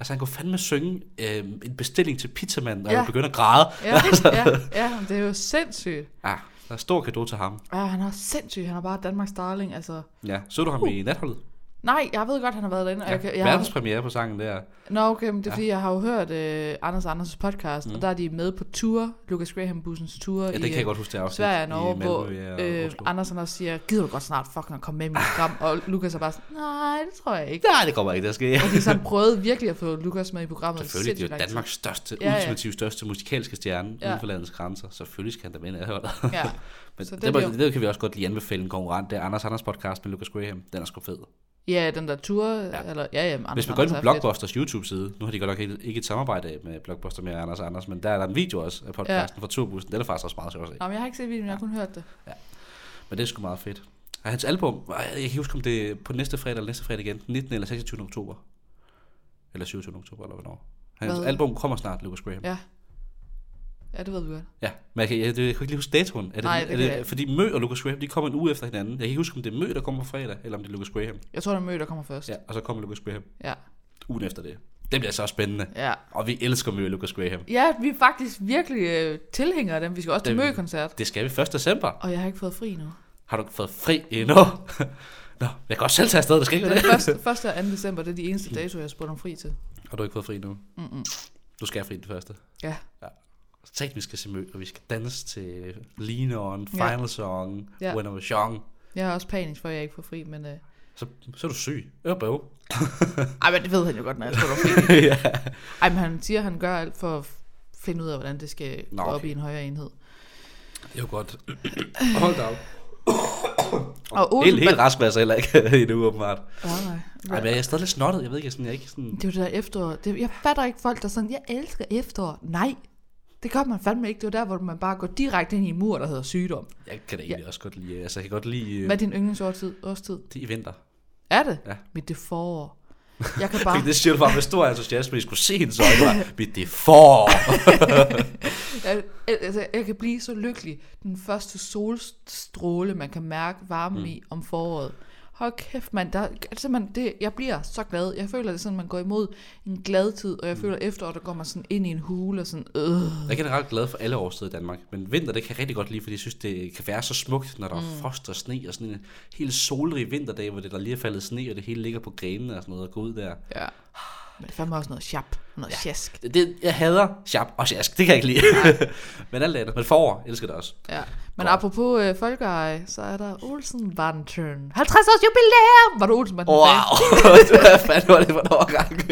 S2: Altså, han kunne fandme synge øh, en bestilling til pizzamanden, og
S1: Ja.
S2: ja. han begynder at græde. [LAUGHS]
S1: ja, ja, ja, men det er jo sindssygt.
S2: Ja, der er stor kado til ham.
S1: Ja, Ah, han er sindssygt, han er bare Danmarks darling, altså.
S2: Ja. Så du ham uh. i natholdet?
S1: Nej, jeg ved godt, han har været derinde. og Jeg, kan- jeg har,
S2: Verdenspremiere på sangen der.
S1: Nå, okay, men det er fordi, jeg har jo hørt uh, Anders Anders' podcast, mm. og der er de med på tour, Lucas Graham-bussens tour
S2: Ja,
S1: i
S2: det kan jeg
S1: øh,
S2: godt huske, det afsnit.
S1: Sverige og
S2: i
S1: Norge,
S2: Malmø,
S1: hvor
S2: ja,
S1: øh,
S2: øh,
S1: Anders han også siger, gider du godt snart fucking at komme med i
S2: [LAUGHS]
S1: mit program? Og Lukas er bare sådan, nej, det tror jeg ikke.
S2: Nej, det kommer ikke, der skal
S1: Fordi så han prøvede virkelig at få Lukas med i programmet. i
S2: Selvfølgelig, det er
S1: sindssygt
S2: jo
S1: lang tid.
S2: Danmarks største,
S1: Ja,
S2: ja,
S1: ja.
S2: ja. ultimativt største musikalske stjerne
S1: Ja.
S2: ja. uden for landets grænser. Selvfølgelig skal han da med i natholdet. [LAUGHS]
S1: Ja.
S2: Men
S1: Så det
S2: det, det,
S1: bliver-
S2: det, kan vi også godt lige anbefale en konkurrent. Det er Anders Anders podcast med Lucas Graham. Den er sgu fed.
S1: Ja, den der tur, ja. eller ja, ja, Anders,
S2: Hvis man går
S1: Anders
S2: ind på
S1: er fedt.
S2: Blockbusters YouTube-side, nu har de godt nok ikke ikke et samarbejde med Blockbuster med Anders og Anders, men der er der en video også af podcasten ja. fra turbussen. Den er faktisk også meget sjov at se.
S1: Nå, men jeg har ikke set videoen, jeg har kun hørt det.
S2: Men det er sgu meget fedt. Og hans album, ej, jeg kan ikke huske, om det er på næste fredag eller næste fredag igen, 19. eller 26. oktober. Eller 27. oktober, eller hvornår. Hans
S1: Hvad?
S2: Hvad? album kommer snart, Lucas Graham. Ja,
S1: Ja. Ja, det ved vi godt.
S2: ja men jeg, kan, jeg, jeg, jeg kan ikke lige huske datoen. Er det,
S1: Nej, det
S2: er
S1: kan jeg
S2: det,
S1: ikke.
S2: fordi Mø og Lucas Graham, de kommer en uge efter hinanden. Jeg kan ikke huske, om det er Mø, der kommer på fredag, eller om det er Lucas Graham.
S1: Jeg tror, der er mø, der kommer først.
S2: Ja, og så kommer Lucas Graham
S1: Ja.
S2: ugen efter det. Det bliver så spændende.
S1: Ja,
S2: Og vi elsker Mø og Lucas Graham.
S1: ja vi er faktisk virkelig øh, tilhængere af dem. Vi skal også til
S2: Det-
S1: mø-koncert.
S2: Det skal vi 1. december.
S1: Og jeg har ikke fået fri nu.
S2: Har du ikke fået fri endnu? [LAUGHS] Nå, jeg kan også selv tage afsted, der skal ikke
S1: Den
S2: være det.
S1: 1. og 2. december, det er de eneste datoer, jeg har spurgt om fri til.
S2: Har du ikke fået fri endnu? Mm-mm. Du skal have fri den første.
S1: Ja.
S2: Tænk, vi skal se mø, og vi skal danse til Lean On,
S1: Ja.
S2: Final Song,
S1: Ja.
S2: When I Was Young.
S1: Jeg har også panisk for, at jeg ikke får fri, men... Øh...
S2: Så, så er du syg. Øh, bøv.
S1: Ej, men det ved han jo godt, når jeg spiller [LAUGHS] fri.
S2: ja.
S1: Ej, men han siger, at han gør alt for at finde ud af, hvordan det skal Nå,
S2: Nå,
S1: okay. op
S2: okay.
S1: i en højere enhed.
S2: Det er jo godt. [COUGHS] Hold da op.
S1: Og Olsen...
S2: Helt, helt rask var jeg så heller ikke [LAUGHS] endnu, åbenbart.
S1: Oh, nej.
S2: Ej, men jeg er stadig lidt snottet. Jeg ved ikke, jeg, er sådan, jeg er ikke sådan...
S1: Det er jo det der efterår. Det, jeg fatter ikke folk, der er sådan, jeg elsker efterår. Nej, det gør man fandme ikke. Det er jo der, hvor man bare går direkte ind i en mur, der hedder sygdom.
S2: Jeg kan da egentlig også godt lide... Altså, jeg kan godt lide... øh,
S1: Hvad er din yndlingsårstid? Årstid?
S2: Det er i vinter.
S1: Er det?
S2: Ja.
S1: Mit det forår. Jeg kan [LAUGHS] bare...
S2: Det siger du bare med stor entusiasme. I skulle se hendes øjne. Mit det er for.
S1: Jeg, altså, jeg kan blive så lykkelig. Den første solstråle, man kan mærke varmen mm. i om foråret. Hold kæft, mand. Der, altså, man, det, jeg bliver så glad. Jeg føler, det er sådan, man går imod en glad tid, og jeg føler, efterår, der går man sådan ind i en hule og sådan, øh.
S2: Jeg er generelt glad for alle årstider i Danmark, men vinter det kan jeg rigtig godt lide, fordi jeg synes, det kan være så smukt, når der mm. er frost og sne og sådan en helt solrig vinterdag, hvor det der lige er faldet sne, og det hele ligger på grenene og sådan noget, og gå ud der.
S1: Ja. Men det er fandme også noget chap, noget ja. sjask.
S2: Det, det, jeg hader sharp og sjask, det kan jeg ikke lide. [LAUGHS] men alt andet. Men forår elsker det også.
S1: Ja. Men apropos øh, folkeeje, så er der Olsen Vandtøn. 50 års jubilæum! Var du Olsen Vandtøn?
S2: Wow, [LAUGHS] hvad fanden var det for en overgang?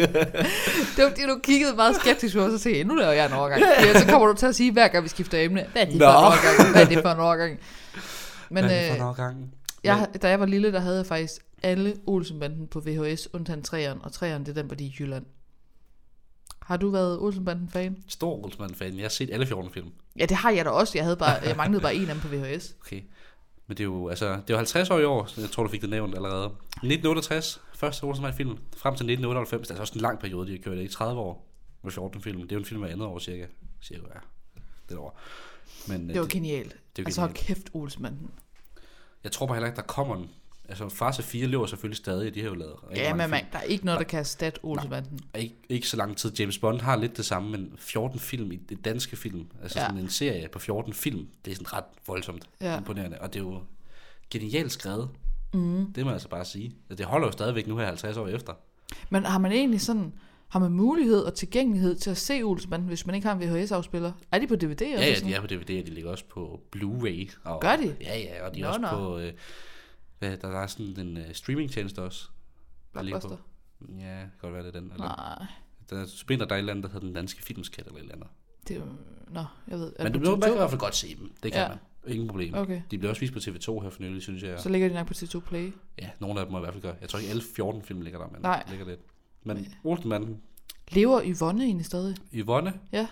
S1: Det var fordi, du kiggede meget skeptisk på os og sagde, nu laver jeg en overgang. Ja, så kommer du til at sige, hver gang vi skifter emne, hvad er det for en
S2: Nå.
S1: overgang? Hvad er det for en overgang? Men
S2: Hvad er det for en
S1: øh,
S2: overgang?
S1: jeg, da jeg var lille, der havde jeg faktisk alle Olsenbanden på VHS, undtagen træeren, og træeren det er den, hvor de er i Jylland. Har du været Olsenbanden-fan?
S2: Stor Olsmann-fan. Jeg har set alle 14 film.
S1: Ja, det har jeg da også. Jeg, havde bare, jeg manglede bare en af dem på VHS.
S2: Okay. Men det er jo, altså, det er jo 50 år i år, så jeg tror, du fik det nævnt allerede. 1968, første Olsenberg-film, frem til 1998. Det er altså også en lang periode, de har kørt. Det er ikke 30 år med 14 film. Det er jo en film hver andet år, cirka. Cirka, ja. Det over. Men øh,
S1: Det
S2: det
S1: var genialt.
S2: det er
S1: Altså, hold
S2: genialt.
S1: kæft, Olsenbanden.
S2: jeg tror bare heller ikke, der kommer en. Altså, Farse 4 lever selvfølgelig stadig, og de har jo lavet rigtig
S1: Ja,
S2: mange
S1: men man,
S2: film.
S1: der er ikke noget, der kan erstatte Olsenbanden.
S2: Og Ikke, ikke, så lang tid. James Bond har lidt det samme, men 14 film i det danske film, altså
S1: Ja.
S2: ja. sådan en serie på 14 film, det er sådan ret voldsomt
S1: Ja.
S2: ja. imponerende. Og det er jo genialt skrevet. Mm. Det må jeg altså bare sige. Altså, Det holder jo stadigvæk nu her 50 år efter.
S1: Men har man egentlig sådan, har man mulighed og tilgængelighed til at se Olsenbanden, hvis man ikke har en VHS-afspiller? Er de på DVD?
S2: Ja, ja, de er på DVD, og de ligger også på Blu-ray. Og,
S1: Gør de?
S2: Ja, ja, og de er
S1: Nå,
S2: også
S1: nå.
S2: på... Øh, hvad, der, der er sådan en øh, streamingtjeneste også. der ligger på.
S1: Blockbuster?
S2: Ja, det kan godt være det er den. Eller,
S1: Nej,
S2: der spiller der et eller andet, der hedder den danske filmskat eller et eller andet.
S1: det er jo... Nå, jeg ved. er
S2: Men
S1: det
S2: du,
S1: på
S2: man kan i
S1: TV2?
S2: hvert fald godt se dem. Det kan
S1: Ja.
S2: man. Ingen problem.
S1: Okay.
S2: De blev også vist på TV2 her for nylig, synes jeg.
S1: Så ligger de nok på T2 Play.
S2: Ja, nogle af dem må i hvert fald gøre. Jeg tror ikke alle 14 film ligger der, men
S1: Nej.
S2: ligger lidt. Men Olsenmanden,
S1: Lever Yvonne egentlig stadig?
S2: Yvonne,
S1: Ja.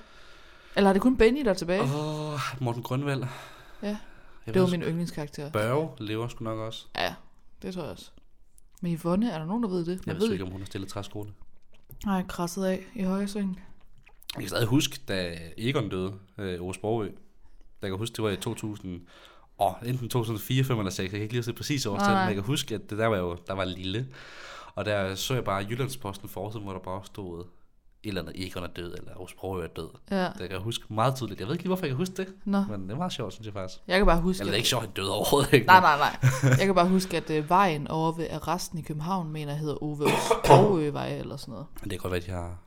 S1: Eller er det kun Benny, der er tilbage?
S2: og Morten Grønvald.
S1: Ja.
S2: Jeg
S1: Det var
S2: ved, min...
S1: min yndlingskarakter.
S2: Børge lever sgu nok også.
S1: Ja, det tror jeg også. Men Yvonne, er der nogen, der ved det?
S2: Jeg
S1: Man
S2: ved
S1: ved
S2: ikke, om hun har stillet træskoene.
S1: Nej, krasset af i højresvingen.
S2: Jeg kan stadig huske, da Egon døde, øh, Ove Sprogø. Jeg kan huske, det var i 2000, og enten 2004, 5 eller 6. Jeg kan ikke lige se præcis årstallet,
S1: Nej,
S2: men
S1: nej.
S2: jeg kan huske, at det der var jo, der var lille. Og der så jeg bare Jyllandsposten forsiden, hvor der bare stod et eller andet Egon er død, eller Ove Sprogø er død.
S1: Ja,
S2: Det kan jeg huske meget tydeligt. Jeg ved ikke lige, hvorfor jeg kan huske det,
S1: nå.
S2: men det er meget sjovt, synes jeg faktisk.
S1: Jeg kan bare huske...
S2: Eller det
S1: at-
S2: er ikke sjovt, at han døde overhovedet. Ikke?
S1: Nej, nej, nej. Jeg kan bare huske, at øh, vejen over ved arresten i København, mener jeg hedder Ove
S2: [COUGHS]
S1: Sprogøvej eller sådan noget.
S2: Men det kan godt være, at de har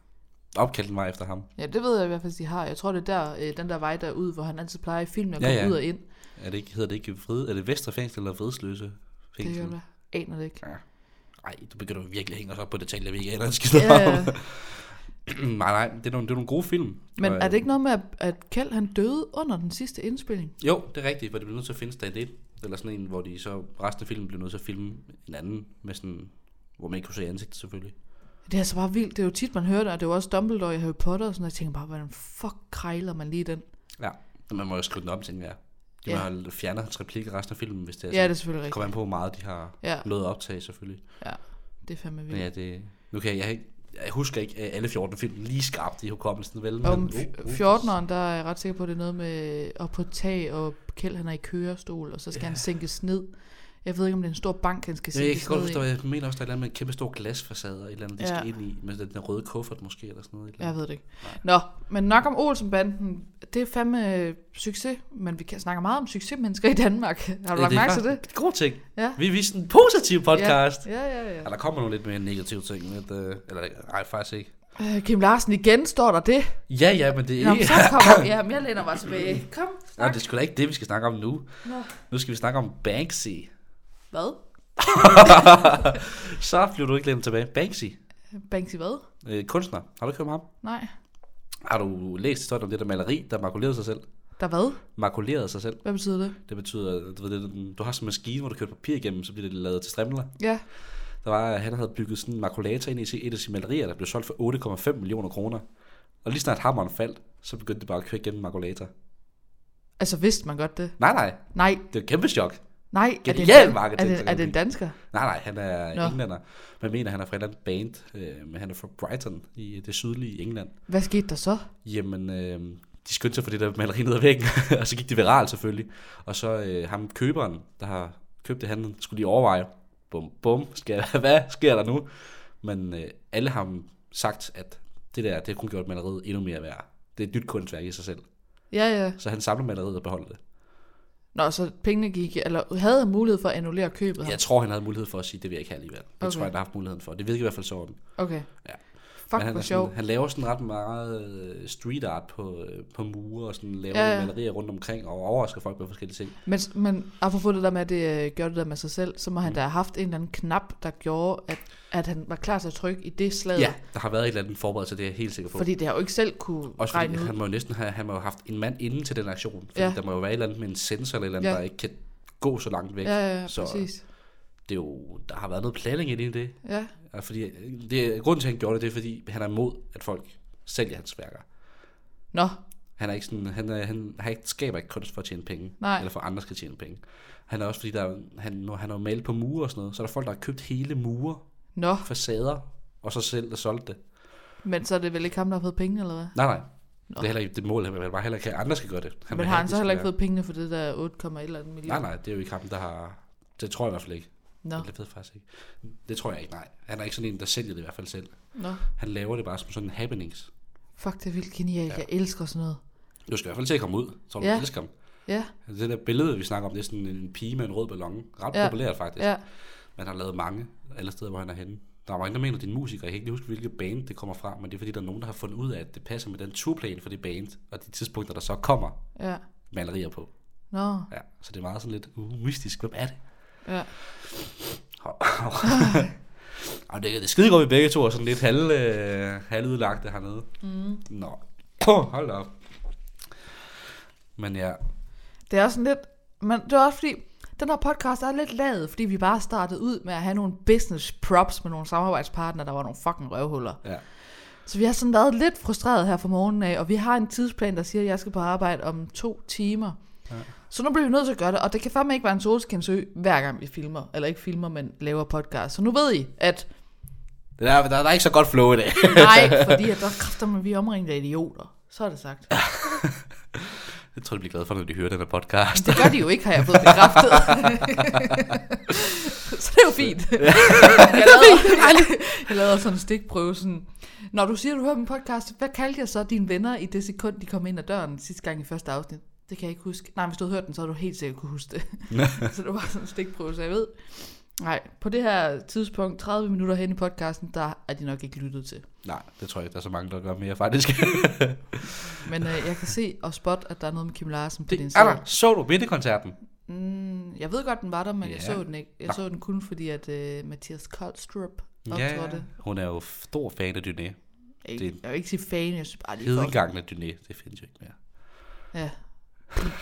S2: opkaldt mig efter ham.
S1: Ja, det ved jeg i hvert fald, de har. Jeg tror, det er der, øh, den der vej derude, hvor han altid plejer i filmen at
S2: Ja,
S1: komme
S2: ja.
S1: ud og ind.
S2: Er det ikke, hedder det ikke Vred, er det Vestre Fængsel eller Vredsløse
S1: Det kan
S2: Fængsel?
S1: jeg da- aner det ikke.
S2: Nej, du begynder jo virkelig at hænge os op på detaljer, vi ikke aner en skid
S1: Ja,
S2: om.
S1: ja.
S2: [CLEARS THROAT] nej, nej, det er, nogle, det er nogle gode film.
S1: Men
S2: Og,
S1: er det ikke noget med, at- at Kjeld han døde under den sidste indspilning?
S2: øh, Jo, det er rigtigt, for det bliver nødt til at finde stand it, eller sådan en, hvor de så resten af filmen bliver nødt til at filme en anden, med sådan, hvor man ikke kunne se ansigtet selvfølgelig.
S1: Det er altså bare vildt. Det er jo tit, man hører det, og det er jo også Dumbledore i Harry Potter og sådan noget. Jeg tænker bare, hvordan fuck krejler man lige den?
S2: Ja, og man må jo skrive den om, tænker jeg. De
S1: Ja.
S2: må have fjernet hans replik i resten af filmen, hvis det er
S1: Ja, det er selvfølgelig
S2: Kommer
S1: rigtigt.
S2: an på, hvor meget de har
S1: Ja.
S2: ja. noget at optage, selvfølgelig.
S1: Ja, det er fandme
S2: Men
S1: vildt.
S2: ja, det... Nu kan jeg, jeg, ikke- jeg husker ikke øh, alle 14 film lige skarpt i hukommelsen, vel?
S1: Og Om
S2: men-
S1: f-
S2: Uh, uh.
S1: 14'eren, der er jeg ret sikker på, at det er noget med at på tag, og Kjeld han er i kørestol, og så skal han sænkes ned. Jeg ved ikke, om det er en stor bank, han skal
S2: Ja, jeg kan
S1: sænkes
S2: godt
S1: ned
S2: forstå,
S1: i.
S2: jeg mener også, der er et eller andet med en kæmpe stor glasfacade, et eller andet, de
S1: Ja.
S2: ja. skal ind i, med den der røde kuffert måske, eller sådan noget. et Eller
S1: Jeg
S2: andet.
S1: ved det ikke. Nå, men nok om Olsenbanden. Det er fandme øh, succes, men vi kan snakke meget om succesmennesker i Danmark. [LAUGHS] Har du lagt mærke til det?
S2: faktisk en God ting.
S1: Ja.
S2: Vi viste en positiv podcast. Ja.
S1: Ja, ja, ja.
S2: Ja, der kommer nogle lidt mere negative ting. Lidt, øh, eller, nej, faktisk ikke.
S1: ja. Øh, Kim Larsen igen, står der det?
S2: Ja, ja, men det er
S1: Nå, men
S2: ikke...
S1: så
S2: [LAUGHS]
S1: kommer ja, men jeg læner mig tilbage. Kom,
S2: Nej,
S1: snak.
S2: det er sgu da ikke det, vi skal snakke om nu.
S1: Nå.
S2: Nu skal vi snakke om Banksy.
S1: Hvad?
S2: Så bliver du ikke glemt tilbage. Banksy,
S1: Banksy hvad?
S2: øh, kunstner. Har du ikke hørt om ham?
S1: Nej.
S2: Har du læst historien om det der maleri, der makulerede sig selv?
S1: Der hvad?
S2: Makulerede sig selv.
S1: Hvad betyder det?
S2: Det betyder, du, ved, det, er den- du har sådan en maskine, hvor du kører papir igennem, så bliver det lavet til strimler.
S1: Ja.
S2: Der var, han havde bygget sådan en makulator ind i sit- et af sine malerier, der blev solgt for 8,5 millioner kroner. Og lige snart hammeren faldt, så begyndte det bare at køre igennem en makulator.
S1: Altså, vidste man godt det?
S2: Nej, nej,
S1: Nej,
S2: det er et kæmpe chok.
S1: nej.
S2: Genial
S1: er det en, dan- er
S2: marketing,
S1: det, er det en dansker?
S2: Nej, nej, han er
S1: Nå.
S2: Nå. englænder. Man mener, han er fra et eller andet band, øh, men han er fra Brighton i det sydlige England.
S1: Hvad skete der så?
S2: Jamen, øh, de skyndte sig for det der maleri ned ad væggen, [LAUGHS] og så gik det viralt selvfølgelig. Og så øh, ham køberen, der har købt det, han skulle lige overveje, bum bum, skal, [LAUGHS] hvad sker der nu? Men øh, alle har ham sagt, at det der, det har kun gjort maleriet endnu mere værd. Det er et nyt kunstværk i sig selv.
S1: Ja, ja.
S2: Så han samler maleriet og beholder det.
S1: Nå, så pengene gik, eller havde han mulighed for at annullere købet?
S2: Jeg tror, han havde mulighed for at sige, det vil jeg ikke have alligevel. Det
S1: Okay.
S2: okay. tror jeg, han har haft muligheden for. Det virker i hvert fald sådan.
S1: Okay.
S2: Ja. Men
S1: Fuck,
S2: han,
S1: hvor
S2: er sådan,
S1: sjov.
S2: han laver sådan ret meget øh, street art på, øh, på mure og sådan laver
S1: Ja,
S2: ja,
S1: ja.
S2: ja. malerier rundt omkring og overrasker folk med forskellige ting.
S1: Men, men apropos det der med, at det øh, gjorde det der med sig selv, så må
S2: Mm.
S1: han da have haft en eller anden knap, der gjorde, at, at han var klar til at trykke i det slag.
S2: Ja, der har været et eller andet forberedelse, det er jeg helt sikker på.
S1: Fordi det har jo ikke selv kunne
S2: Også fordi
S1: regne ud.
S2: han må jo næsten have, han må jo have haft en mand inden til den aktion. Fordi
S1: Ja.
S2: ja. der må jo være et eller andet med en sensor eller et eller andet,
S1: Ja.
S2: ja. der ikke kan gå så langt væk.
S1: Ja, ja, ja,
S2: så
S1: præcis.
S2: det er jo, der har været noget planning inde i det.
S1: Ja.
S2: Og fordi, det grunden til, at han gjorde det, det er, fordi han er imod, at folk sælger hans værker.
S1: Nå,
S2: Han, er ikke sådan, han, er, han har ikke, skaber ikke kunst for at tjene penge,
S1: Nej.
S2: eller for at andre skal tjene penge. Han er også fordi, der, er- han, når han har malet på mure og sådan noget, så er der folk, der har købt hele mure,
S1: nå.
S2: facader, og så selv og solgt det.
S1: Men så er det vel ikke ham, der har fået penge, eller hvad?
S2: Nej, nej. Det er heller ikke det mål, han vil bare heller ikke, at andre skal gøre det. Han
S1: Men
S2: vil
S1: har
S2: have,
S1: han
S2: at
S1: så
S2: det
S1: heller
S2: skal
S1: ikke fået pengene for det der 8, et eller andet
S2: være-
S1: million?
S2: Nej, nej, det er jo ikke ham, der har... Det tror jeg i hvert fald ikke.
S1: Nå,
S2: Det ved jeg faktisk ikke. Det tror jeg ikke, nej. Han er ikke sådan en, der sælger det i hvert fald selv.
S1: nå.
S2: Han laver det bare som sådan happenings.
S1: Fuck, det er vildt genialt. Jeg elsker sådan noget.
S2: Du skal i hvert fald til at komme ud, så du
S1: Ja.
S2: ja. elsker ham. Altså,
S1: Ja,
S2: Det der billede, vi snakker om, det er sådan en pige med en rød ballon. Ret
S1: Ja.
S2: ja. populært faktisk.
S1: ja.
S2: Man har lavet mange alle steder, hvor han er henne. Der er mange, der mener, det er en musiker. Jeg kan ikke lige huske, hvilket band det kommer fra, men det er fordi, der er nogen, der har fundet ud af, at det passer med den turplan for det band, og de tidspunkter, der så kommer
S1: ja.
S2: malerier på.
S1: Nå,
S2: Ja, så det er meget sådan lidt uh, mystisk. Hvem er det?
S1: ja.
S2: [LAUGHS] Og det, det er skide godt, vi begge to er sådan lidt halv, øh, halvudlagte hernede. Mm. [COUGHS] Nå, hold da op. Men ja,
S1: Det er også sådan lidt, Men det er også fordi, den her podcast er lidt lavet, fordi vi bare startede ud med at have nogle business props med nogle samarbejdspartnere, der var nogle fucking røvhuller.
S2: Ja.
S1: Så vi har sådan været lidt frustreret her fra morgenen af, og vi har en tidsplan, der siger, at jeg skal på arbejde om to timer. Ja. Så nu bliver vi nødt til at gøre det, og det kan fandme ikke være en solskinsø, hver gang vi filmer, eller ikke filmer, men laver podcast. Så nu ved I, at
S2: Der, er- der, der er ikke så godt flow i dag. [LAUGHS]
S1: nej, fordi at der kræfter man, vi er omringet af idioter. Så er det sagt.
S2: Jeg tror, de bliver glade for, når de hører den her podcast.
S1: Det gør de jo ikke, har jeg fået
S2: [LAUGHS]
S1: bekræftet. så det er jo fint. Jeg lavede, jeg lavede sådan en stikprøve. Sådan, Når du siger, du hører min podcast, hvad kaldte jeg så dine venner i det sekund, de kom ind ad døren sidste gang i første afsnit? Det kan jeg ikke huske. Nej, hvis du havde hørt den, så havde du helt sikkert kunne huske det.
S2: [LAUGHS]
S1: så det var sådan en stikprøve, så jeg ved. Nej, på det her tidspunkt, 30 minutter hen i podcasten, der er de nok ikke lyttet til.
S2: Nej, det tror jeg ikke, der er så mange, der gør mere [LAUGHS] faktisk.
S1: Men øh, jeg kan se og spot, at der er noget med Kim Larsen på
S2: det
S1: din
S2: er
S1: side.
S2: der. Så du vindekoncerten?
S1: Mm, jeg ved godt, den var der, men jeg
S2: Ja.
S1: så den ikke. Jeg
S2: Nå.
S1: så den kun fordi, at uh, Mathias Koldstrup optrådte.
S2: Hun er jo stor fan af Dyné.
S1: Jeg,
S2: Det-
S1: jeg vil ikke sige fan, jeg synes bare lige for...
S2: Hedengangen af Dyné, det findes jo ikke mere.
S1: Ja.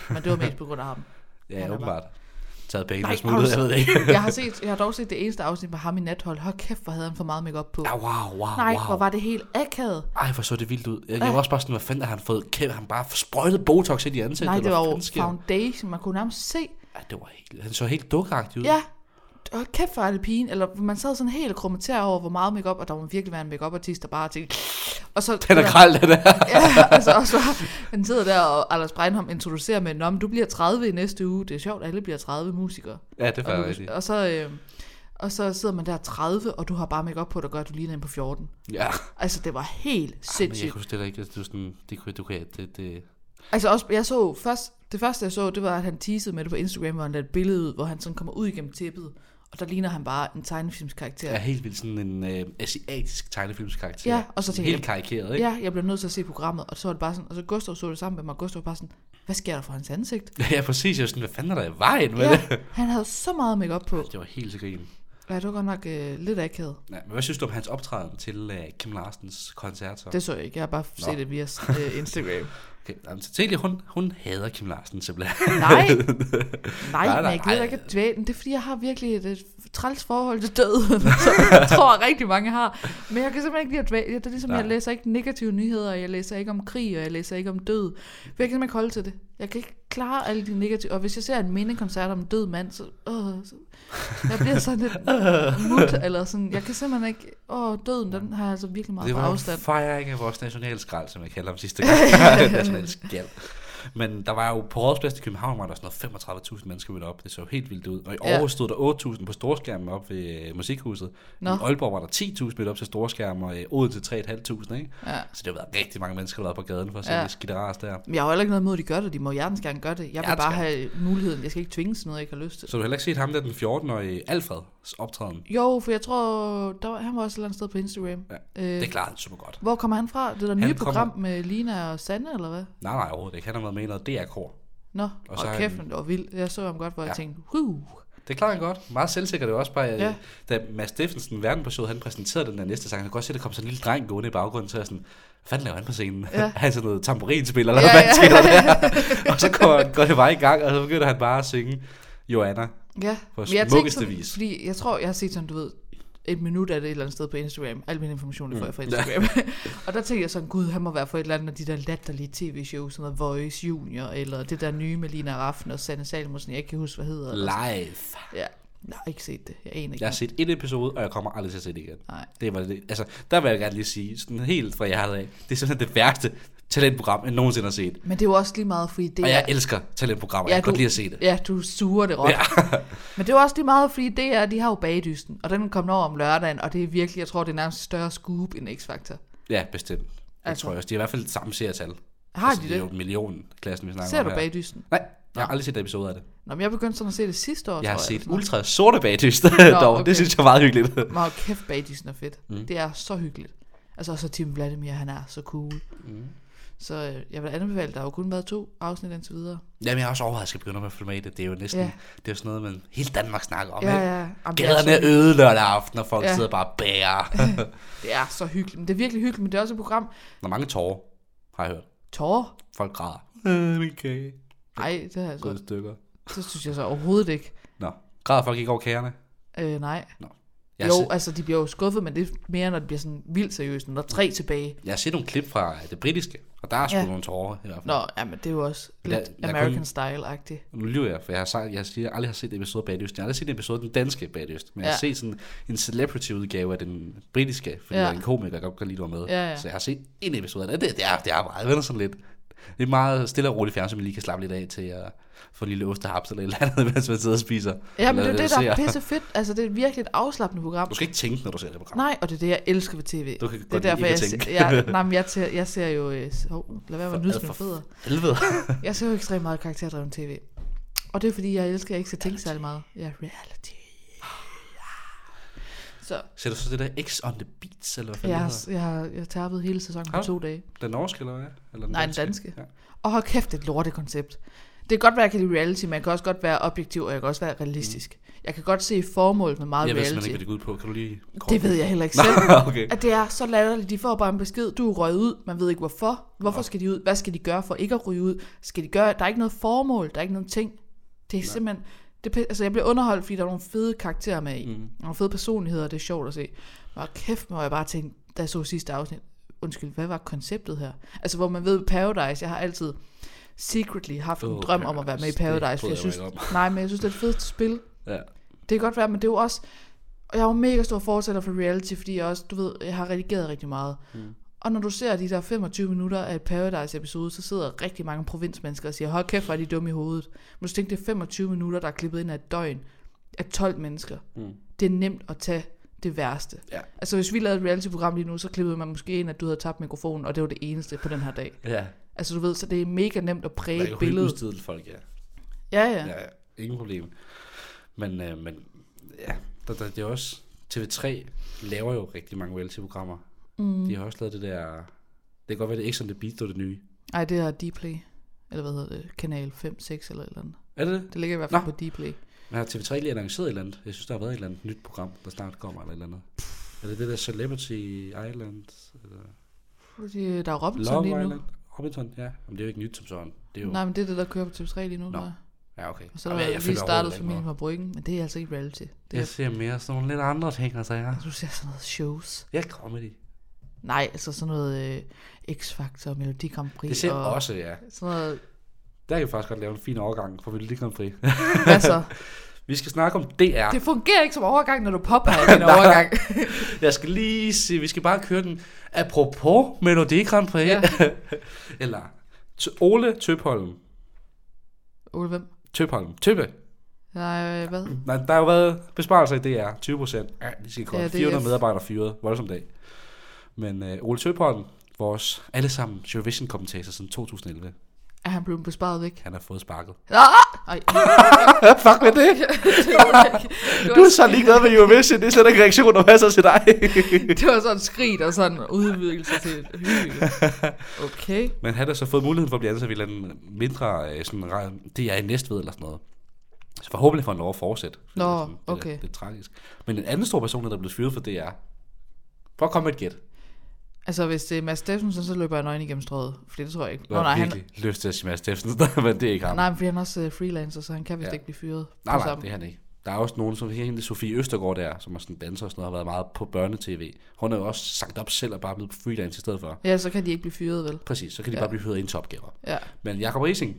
S1: Men det var mest på grund af ham. Han
S2: Ja,
S1: er
S2: åbenbart. Taget penge
S1: Nej,
S2: og smuttet,
S1: har
S2: jeg
S1: du-
S2: ved [LAUGHS] det ikke.
S1: Jeg har, set, jeg har dog set det eneste afsnit med ham i nathold. Hold kæft, hvor havde han for meget makeup på.
S2: Ja, wow, wow,
S1: Nej,
S2: wow.
S1: hvor var det helt akavet.
S2: Ej, hvor så det vildt ud. Jeg, jeg var også bare sådan, hvad fanden har han fået? Kæft, han bare sprøjtet Botox ind i ansigtet.
S1: Nej, det
S2: eller
S1: var
S2: hvad
S1: jo
S2: fanden sker der?
S1: foundation. Man kunne nærmest se.
S2: Ej, det var helt, han så helt dukkeagtig ud.
S1: Ja, hold kæft, hvor er det pigen. Eller man sad sådan helt krummetær over, hvor meget makeup, og der må virkelig være en makeup artist der bare tænkte... Og så,
S2: Den er krald, den der.
S1: ja, altså, og så han sidder der, og Anders Breinholm introducerer med, Nå, men du bliver 30 i næste uge. Det er sjovt, alle bliver 30 musikere.
S2: Ja, det var
S1: Og,
S2: rigtigt.
S1: du, og, så, øh, og så sidder man der 30, og du har bare make op på, der gør, at du ligner en på 14.
S2: Ja,
S1: Altså, det var helt
S2: men jeg
S1: sindssygt.
S2: kunne stille ikke, at du sådan, det kunne, du kan, det, det,
S1: Altså, også, jeg så først, det første, jeg så, det var, at han teasede med det på Instagram, hvor han lavede et billede ud, hvor han sådan kommer ud igennem tæppet, og der ligner han bare en tegnefilmskarakter.
S2: er helt vildt sådan en øh, asiatisk tegnefilmskarakter.
S1: Ja, og så tænker
S2: Helt karikeret, ikke?
S1: Ja, jeg blev nødt til at se programmet, og så var det bare sådan, og så Gustav så det sammen med mig, og Gustav var bare sådan, hvad sker der for hans ansigt?
S2: [LAUGHS] Ja, præcis. Jeg var sådan, hvad fanden er der i vejen med det?
S1: Ja, han havde så meget makeup på.
S2: Det var helt til grin.
S1: Ja, det var godt nok øh, lidt akavet.
S2: Ja, men hvad synes du om hans optræden til øh, Kim Larsens koncert? Så?
S1: Det så jeg ikke. Jeg har bare set det [LAUGHS] via øh, Instagram.
S2: Okay, jamen, så Celia, hun, hun hader Kim Larsen simpelthen.
S1: Nej. Nej, nej,
S2: Nej, nej,
S1: nej, jeg gider
S2: nej.
S1: ikke at dvæle. den. Det er fordi, jeg har virkelig et, et træls forhold til døden, [LAUGHS] som jeg tror rigtig mange har. Men jeg kan simpelthen ikke lide at dvæle. Det er ligesom,
S2: Nej.
S1: nej. jeg læser ikke negative nyheder, og jeg læser ikke om krig, og jeg læser ikke om død. For Jeg kan simpelthen ikke holde til det. Jeg kan ikke klare alle de negative. Og hvis jeg ser en mindekoncert om en død mand, så, øh, så jeg bliver sådan [LAUGHS] lidt mut, eller sådan. Jeg kan simpelthen ikke... Åh, døden, den har jeg altså virkelig meget
S2: det
S1: på
S2: var en
S1: afstand.
S2: fejring af vores nationale skrald, som jeg kalder ham sidste gang. nationale skjald. Men der var jo på Rådspladsen i København, var der sådan noget 35.000 mennesker mødte op. Det så jo helt vildt ud. Og i
S1: Ja.
S2: Aarhus stod der 8.000 på storskærmen op ved øh, Musikhuset.
S1: Nå.
S2: I Aalborg var der 10.000 mødt op til storskærmen, og i Odense 3.500, ikke?
S1: Ja.
S2: Så det har været rigtig mange mennesker, der var på gaden for at se ja.
S1: Ja.
S2: det skidte ras der.
S1: Men jeg har jo heller ikke noget imod, at de gør det. De må hjertens gerne gøre det. Jeg vil
S2: Hjertens
S1: bare
S2: gerne.
S1: have muligheden. Jeg skal ikke tvinges til noget, jeg ikke har lyst til.
S2: Så du har heller ikke set ham der, den 14-årige Alfreds optræden?
S1: Jo, for jeg tror, der var, han var også et eller andet sted på Instagram.
S2: Ja,
S1: Øh,
S2: Det klarer han super godt.
S1: Hvor kommer han fra? Det der
S2: Han
S1: nye
S2: kommer-
S1: program med Lina og Sanne, eller hvad?
S2: Nej, nej, overhovedet ikke. Han har været med i noget DR-kor.
S1: Nå, og,
S2: så
S1: og
S2: er
S1: kæft,
S2: han-
S1: han... det var vildt. Jeg så ham godt, hvor ja.
S2: Ja.
S1: jeg tænkte, huh.
S2: Det klarer han godt. Meget selvsikker det er også bare, ja.
S1: Ja.
S2: da Mads Steffensen, verden på showet, han præsenterede den der næste sang, jeg kan godt se, at der kom sådan en lille dreng gående i baggrunden, så er jeg sådan, hvad fanden laver han på scenen? Ja.
S1: Ja.
S2: [LAUGHS] han sådan noget tamburinspiller, eller
S1: Ja,
S2: hvad
S1: ja.
S2: ja, ja. der? [LAUGHS] Og så går, går det bare i gang, og så begynder han bare at synge Joanna.
S1: Ja,
S2: På
S1: Men jeg
S2: smukkeste
S1: sådan,
S2: vis.
S1: Fordi jeg tror, jeg har set sådan, du ved, et minut af det et eller andet sted på Instagram. Al min information, det får jeg
S2: Mm.
S1: fra Instagram. [LAUGHS] og der tænkte jeg sådan, gud, han må være for et eller andet af de der latterlige tv-shows, sådan noget Voice Junior, eller det der nye med Lina Raffen og Sanne Salmussen, jeg ikke kan huske, hvad hedder. eller sådan-
S2: Live.
S1: Ja, jeg har ikke set det. Jeg aner ikke.
S2: Jeg har set et episode, og jeg kommer aldrig til at se det igen.
S1: Nej.
S2: Det var det. Altså, der vil jeg gerne lige sige, sådan helt fra hjertet af, det er simpelthen det værste talentprogram, jeg nogensinde har set.
S1: Men det er jo også lige meget, fordi det
S2: Og
S1: er...
S2: jeg elsker talentprogrammer, ja, jeg kan godt lide at se det.
S1: Ja, du suger det råt.
S2: Ja. [LAUGHS]
S1: Ja. Men det er jo også lige meget, fordi det er, de har jo bagdysten, og den kommer over om lørdagen, og det er virkelig, jeg tror, det er nærmest større scoop end X-Factor.
S2: Ja, bestemt. Det altså.
S1: Altså.
S2: tror jeg også. De er i hvert fald samme serietal.
S1: Har
S2: altså,
S1: de
S2: Det er
S1: det?
S2: jo millionen klassen, vi snakker
S1: Ser
S2: om
S1: du
S2: her.
S1: bagdysten?
S2: Nej, jeg har aldrig set et episode af det.
S1: Nå, men jeg begyndte sådan at se det sidste år,
S2: Jeg har
S1: tror
S2: set
S1: jeg. Ul-
S2: ultra sorte bagdyster dog. Okay.
S1: okay.
S2: Det synes jeg er meget hyggeligt.
S1: Nå, kæft, bagdysten er fedt. Mm. Det er så hyggeligt. Altså, og så Tim Vladimir, han er så cool. Mm. Så øh, jeg vil anbefale, der har jo kun været to afsnit indtil videre.
S2: Jamen, jeg har også overvejet, at jeg skal begynde med at følge med i det. Det er jo næsten,
S1: Ja.
S2: det er jo sådan noget, man hele Danmark snakker om.
S1: Ja,
S2: ikke?
S1: ja. Jamen, det, er
S2: Gaderne
S1: så,
S2: er øde lørdag aften, og folk ja.
S1: Ja.
S2: sidder bare og bærer.
S1: det er så hyggeligt. Men det er virkelig hyggeligt, men det er også et program.
S2: Der er mange tårer, har jeg hørt.
S1: Tårer?
S2: Folk græder. Øh, min kage.
S1: Nej, det har jeg så
S2: Gået i stykker.
S1: Det synes jeg så overhovedet ikke.
S2: Nå, græder folk ikke over kagerne?
S1: Øh, nej.
S2: Jeg,
S1: jo,
S2: har, se-
S1: altså de bliver jo skuffet, men det er mere, når det bliver sådan vildt seriøst, når der er tre tilbage.
S2: jeg har set nogle klip fra øh, det britiske, og der er sgu
S1: Ja.
S2: ja. nogle tårer i hvert fald.
S1: Nå, jamen det er jo også
S2: Men der-
S1: lidt
S2: der er kun-
S1: American Style-agtigt.
S2: Nu lyver jeg, for jeg har sagt, jeg siger, jeg aldrig har set en episode af Bagdyst. Jeg har aldrig set en episode af den danske Bagdyst, men ja. jeg har
S1: Ja.
S2: set sådan en celebrity-udgave af den britiske, fordi
S1: Ja.
S2: ja. jeg er en komiker, der godt kan lide, du var med.
S1: Ja, ja.
S2: Så jeg har set en episode af den. Det, det, er, det er meget, vender sådan lidt. Det er meget stille og roligt fjern, som man lige kan slappe lidt af til at få en lille ostehaps eller et eller andet, [LAUGHS] mens man sidder og spiser.
S1: Ja, men
S2: Eller
S1: det er jo det, der er
S2: ser.
S1: pisse fedt. Altså, det er virkelig et afslappende program.
S2: Du skal ikke tænke, når du ser det program.
S1: Nej, og det er det, jeg elsker ved tv.
S2: Du kan
S1: det er
S2: godt lide
S1: derfor,
S2: ikke
S1: jeg,
S2: at
S1: ser,
S2: tænke. [LAUGHS]
S1: jeg, nej, men jeg, ser, jeg ser jo... Øh, så- hov, lad være med at nyde
S2: ad
S1: mine
S2: for- [LAUGHS]
S1: fødder.
S2: Helvede.
S1: Jeg ser jo ekstremt meget karakterdrevet tv. Og det er fordi, jeg elsker, at jeg ikke skal tænke særlig meget. Ja, reality. Så
S2: Ser du så det der X on the Beats, eller hvad fanden
S1: jeg
S2: ja.
S1: har,
S2: hedder?
S1: jeg har, jeg har tappet hele sæsonen på
S2: Har du?
S1: to dage.
S2: Den norske, eller hvad? Eller den
S1: Nej, den danske.
S2: Ja.
S1: Og hold kæft, det er et lortekoncept. Det kan godt være, at jeg kan lide reality, men jeg kan også godt være objektiv, og jeg kan også være realistisk. Jeg kan godt se formålet med meget
S2: Jeg ved
S1: reality.
S2: simpelthen ikke, hvad det går ud på. Kan du lige...
S1: det ved jeg heller ikke selv.
S2: [LAUGHS] okay.
S1: At det er så latterligt. De får bare en besked. Du er røget ud. Man ved ikke hvorfor. Hvorfor skal de ud? Hvad skal de gøre for ikke at ryge ud? Skal de gøre? Der er ikke noget formål. Der er ikke nogen ting. Det er Nej. simpelthen... Det, er pi- altså, jeg bliver underholdt, fordi der er nogle fede karakterer med i.
S2: Mhm.
S1: Mm. Nogle fede personligheder. Det er sjovt at se. Og kæft, hvor jeg bare tænkte, da jeg så sidste afsnit, undskyld, hvad var konceptet her? Altså, hvor man ved Paradise, jeg har altid secretly haft en
S2: Åh,
S1: drøm om at være med i
S2: Paradise, det
S1: Paradise, for jeg
S2: bryder jeg mig
S1: synes,
S2: ikke
S1: nej, men jeg synes, det er et fedt spil.
S2: Ja.
S1: Det kan godt være, men det er jo også... Og jeg er jo mega stor fortæller for reality, fordi jeg også, du ved, jeg har redigeret rigtig meget. Mm. Og når du ser de der 25 minutter af et Paradise-episode, så sidder rigtig mange provinsmennesker og siger, hold kæft, hvor er de dumme i hovedet. Men du tænker, det er 25 minutter, der er klippet ind af et døgn af 12 mennesker. Mm. Det er nemt at tage det værste.
S2: Ja.
S1: Altså hvis vi lavede et reality-program lige nu, så klippede man måske ind, at du havde tabt mikrofonen, og det var det eneste på den her dag.
S2: Ja.
S1: Altså du ved, så det er mega nemt at præge
S2: Man
S1: et
S2: kan jo helt
S1: billede.
S2: udstille folk, ja.
S1: Ja, ja.
S2: Ja, ja. ingen problem. Men, øh, men ja, der, der, det er også... TV3 laver jo rigtig mange reality-programmer. Mm. De har også lavet det der... Det kan godt være, det er X on the Beat, der er det nye.
S1: Ej, det er Dplay. Eller hvad hedder det? Kanal 5, 6 eller et eller andet.
S2: Er det det?
S1: Det ligger i hvert fald Nå.
S2: Nå.
S1: på Dplay.
S2: Men har TV3 lige annonceret et eller andet? Jeg synes, der har været et eller andet nyt program, der snart kommer, eller et eller andet. Er det det der Celebrity Island? Eller
S1: Fordi øh, Der er Robinson
S2: Love
S1: lige nu.
S2: Island? Robinson, ja. Jamen, det er jo ikke nyt som sådan. Det er jo...
S1: Nej, men det er det, der kører på TV3 lige nu.
S2: Nå.
S1: tror jeg.
S2: Ja, okay.
S1: Og så er
S2: Jamen,
S1: der
S2: jeg
S1: lige
S2: følger
S1: startet
S2: overhovedet ikke
S1: familien
S2: med.
S1: fra Bryggen, men det er altså ikke reality. Det er,
S2: Jeg ser mere sådan nogle lidt andre ting, altså jeg.
S1: Du ser sådan noget shows.
S2: Jeg er comedy.
S1: Nej, altså sådan noget øh, X-Factor, Melodi Grand Prix.
S2: Det ser jeg
S1: og
S2: også, ja.
S1: Sådan noget,
S2: Der kan vi faktisk godt lave en fin overgang for Melodi Grand Prix.
S1: hvad
S2: [LAUGHS]
S1: så?
S2: Vi skal snakke om DR.
S1: Det fungerer ikke som overgang, når du popper
S2: [LAUGHS]
S1: i din overgang.
S2: Jeg skal lige se, vi skal bare køre den apropos Melodi Grand Prix.
S1: Ja.
S2: Ja. [LAUGHS] Eller T- Ole Tøpholm.
S1: Ole, hvem?
S2: Tøpholm. Tøppe.
S1: Nej, øh, hvad?
S2: Nej, der har jo været besparelser i DR. 20 procent. Ja, de skal
S1: Ja,
S2: koste.
S1: det er-
S2: 400 medarbejdere fyret. Voldsom dag. Men øh, Ole Tøpholm, vores allesammen Eurovision-kommentator siden 2011,
S1: Er han blevet besparet væk?
S2: han har fået sparket.
S1: Ah! Ej,
S2: Fuck med det! Du er så ligeglad med Eurovision, det er slet ikke reaktion, der passer til dig.
S1: det var sådan en skrig og sådan en udvidelse til et hyl.
S2: [LAUGHS]
S1: Okay.
S2: Men han har så fået muligheden for at blive ansat ved en eller anden mindre, øh, sådan, ra- det er i Næstved eller sådan noget. Så forhåbentlig får han lov at fortsætte. fordi
S1: Nå,
S2: det er sådan, det er
S1: okay.
S2: lidt- lidt tragisk. Men en anden stor person, der er blevet fyret for DR. Prøv at komme med et gæt.
S1: Altså, hvis det er Mads Steffensen, så løber jeg nøgen igennem strøget. For det tror jeg ikke.
S2: Jeg
S1: Nå, nej,
S2: har
S1: han,
S2: virkelig lyst til at sige Mads Steffensen, [LAUGHS] men det er ikke ham.
S1: nej, men fordi han er også øh, freelancer, så han kan vist ja.
S2: Ja.
S1: ikke blive fyret.
S2: nej,
S1: på
S2: nej
S1: samme-
S2: det er han ikke. Der er også nogen, som hende Sofie Østergaard der, som er sådan danser og sådan noget, har været meget på børnetv. Hun er jo også sagt op selv og bare blevet freelance i stedet for.
S1: Ja, så kan de ikke blive fyret, vel?
S2: Præcis, så kan de ja. bare blive hyret ind til opgaver.
S1: Ja.
S2: Men Jakob Rising,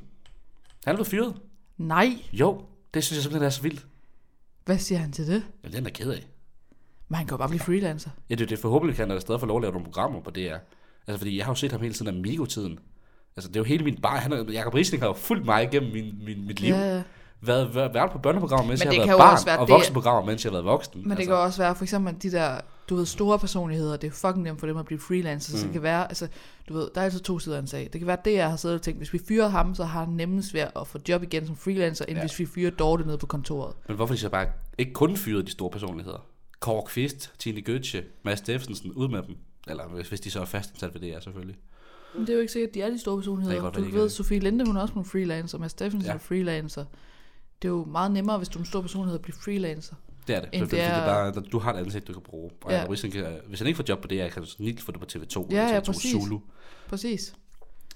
S2: han er blevet fyret.
S1: Nej,
S2: Jo, det synes jeg simpelthen er så vildt.
S1: hvad siger han til det?
S2: Jeg er den, der er ked af.
S1: Men han kan jo bare blive freelancer.
S2: Ja, det er det. Forhåbentlig kan der stadig få lov at lave nogle programmer på DR. Altså, fordi jeg har jo set ham hele tiden af Migo-tiden. Altså, det er jo hele min bar. Han er, Jacob Riesling har jo fulgt mig igennem min, min, mit liv.
S1: Ja,
S2: Ja.
S1: ja.
S2: Været, været, været på børneprogrammer, mens
S1: Men
S2: jeg
S1: det
S2: har
S1: kan
S2: været
S1: jo
S2: barn,
S1: også være
S2: og
S1: det-
S2: voksenprogrammer, mens jeg har været voksen.
S1: Men det
S2: altså,
S1: kan også være, for eksempel at de der, du ved, store personligheder, det er fucking nemt for dem at blive freelancer, så mm. det kan være, altså, du ved, der er altid to sider af en sag. Det kan være, det jeg har siddet og tænkt, hvis vi fyrer ham, så har han nemmest ved at få job igen som freelancer, end ja. hvis vi fyrer Dorte ned på kontoret.
S2: Men hvorfor de så bare ikke kun fyret de store personligheder? Kåre Kvist, Tine Gøtje, Mads Steffensen, ud med dem. Eller hvis, hvis de så er fastansat ved DR, selvfølgelig.
S1: Men det er jo ikke sikkert, at de er de store personligheder.
S2: Det kan godt
S1: du
S2: være, de ikke er
S1: ved,
S2: det.
S1: Sofie Linde, hun er også en freelancer, Mads Steffensen ja.
S2: Ja.
S1: er freelancer. Det er jo meget nemmere, hvis du er en stor personlighed, at blive freelancer.
S2: Det er det.
S1: End
S2: Selvfølgelig,
S1: det
S2: det
S1: er-
S2: er... Der, der, du har et ansigt, du kan bruge. Og
S1: Ja.
S2: ja. Riesling, kan, hvis han ikke får job på DR, kan du snit få det på TV2
S1: Ja, ja,
S2: eller TV2
S1: præcis.
S2: Zulu.
S1: Præcis.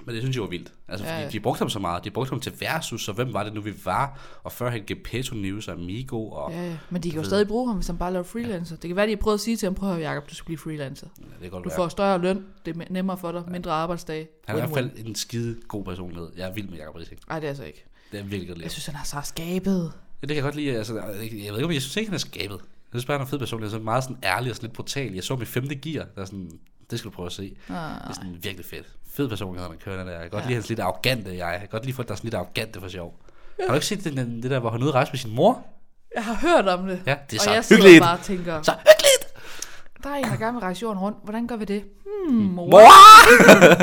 S2: Men det synes jeg var vildt. Altså,
S1: Ja,
S2: fordi
S1: ja.
S2: ja. de brugte ham så meget. De brugte ham til Versus, og hvem var det nu, vi var? Og førhen Gepetto News og Amigo, og ja.
S1: Ja, ja. Men de kan jo stadig bruge ham, hvis han bare laver freelancer. Det kan være, de har prøvet at sige til ham, prøv at høre, Jacob, du skal blive freelancer.
S2: det kan godt
S1: Du
S2: være.
S1: får større løn, det er nemmere for dig, mindre arbejdsdage.
S2: Han er i
S1: Win-win.
S2: hvert fald en skide god personlighed. Jeg er vild med Jacob Rising.
S1: Ej, det er altså ikke.
S2: Det er virkelig godt lide.
S1: Jeg synes, han er så skabet.
S2: Ja, det kan jeg godt lide. Altså, jeg ved ikke, om jeg synes ikke, han er skabet. Jeg synes bare, han er en fed personlighed. Så meget sådan ærlig og sådan lidt brutal. Jeg så ham i femte gear. Der er sådan, det skal du prøve at se. Det er sådan virkelig fedt. Fed personlighed, han kører den der. Jeg kan godt
S1: Ah. Ja.
S2: ja. lide hans lidt arrogante jeg. Jeg kan godt lide folk, der er sådan lidt arrogante for sjov. Har du ikke set den, den, det der, hvor han er ude at rejse med sin mor?
S1: Jeg har hørt om det.
S2: Ja, det er
S1: og
S2: så
S1: jeg sidder
S2: hyggeligt.
S1: bare og tænker,
S2: Så hyggeligt!
S1: der er en, der gerne vil rejse jorden rundt. Hvordan gør vi det? Hmm, mor.
S2: Mor!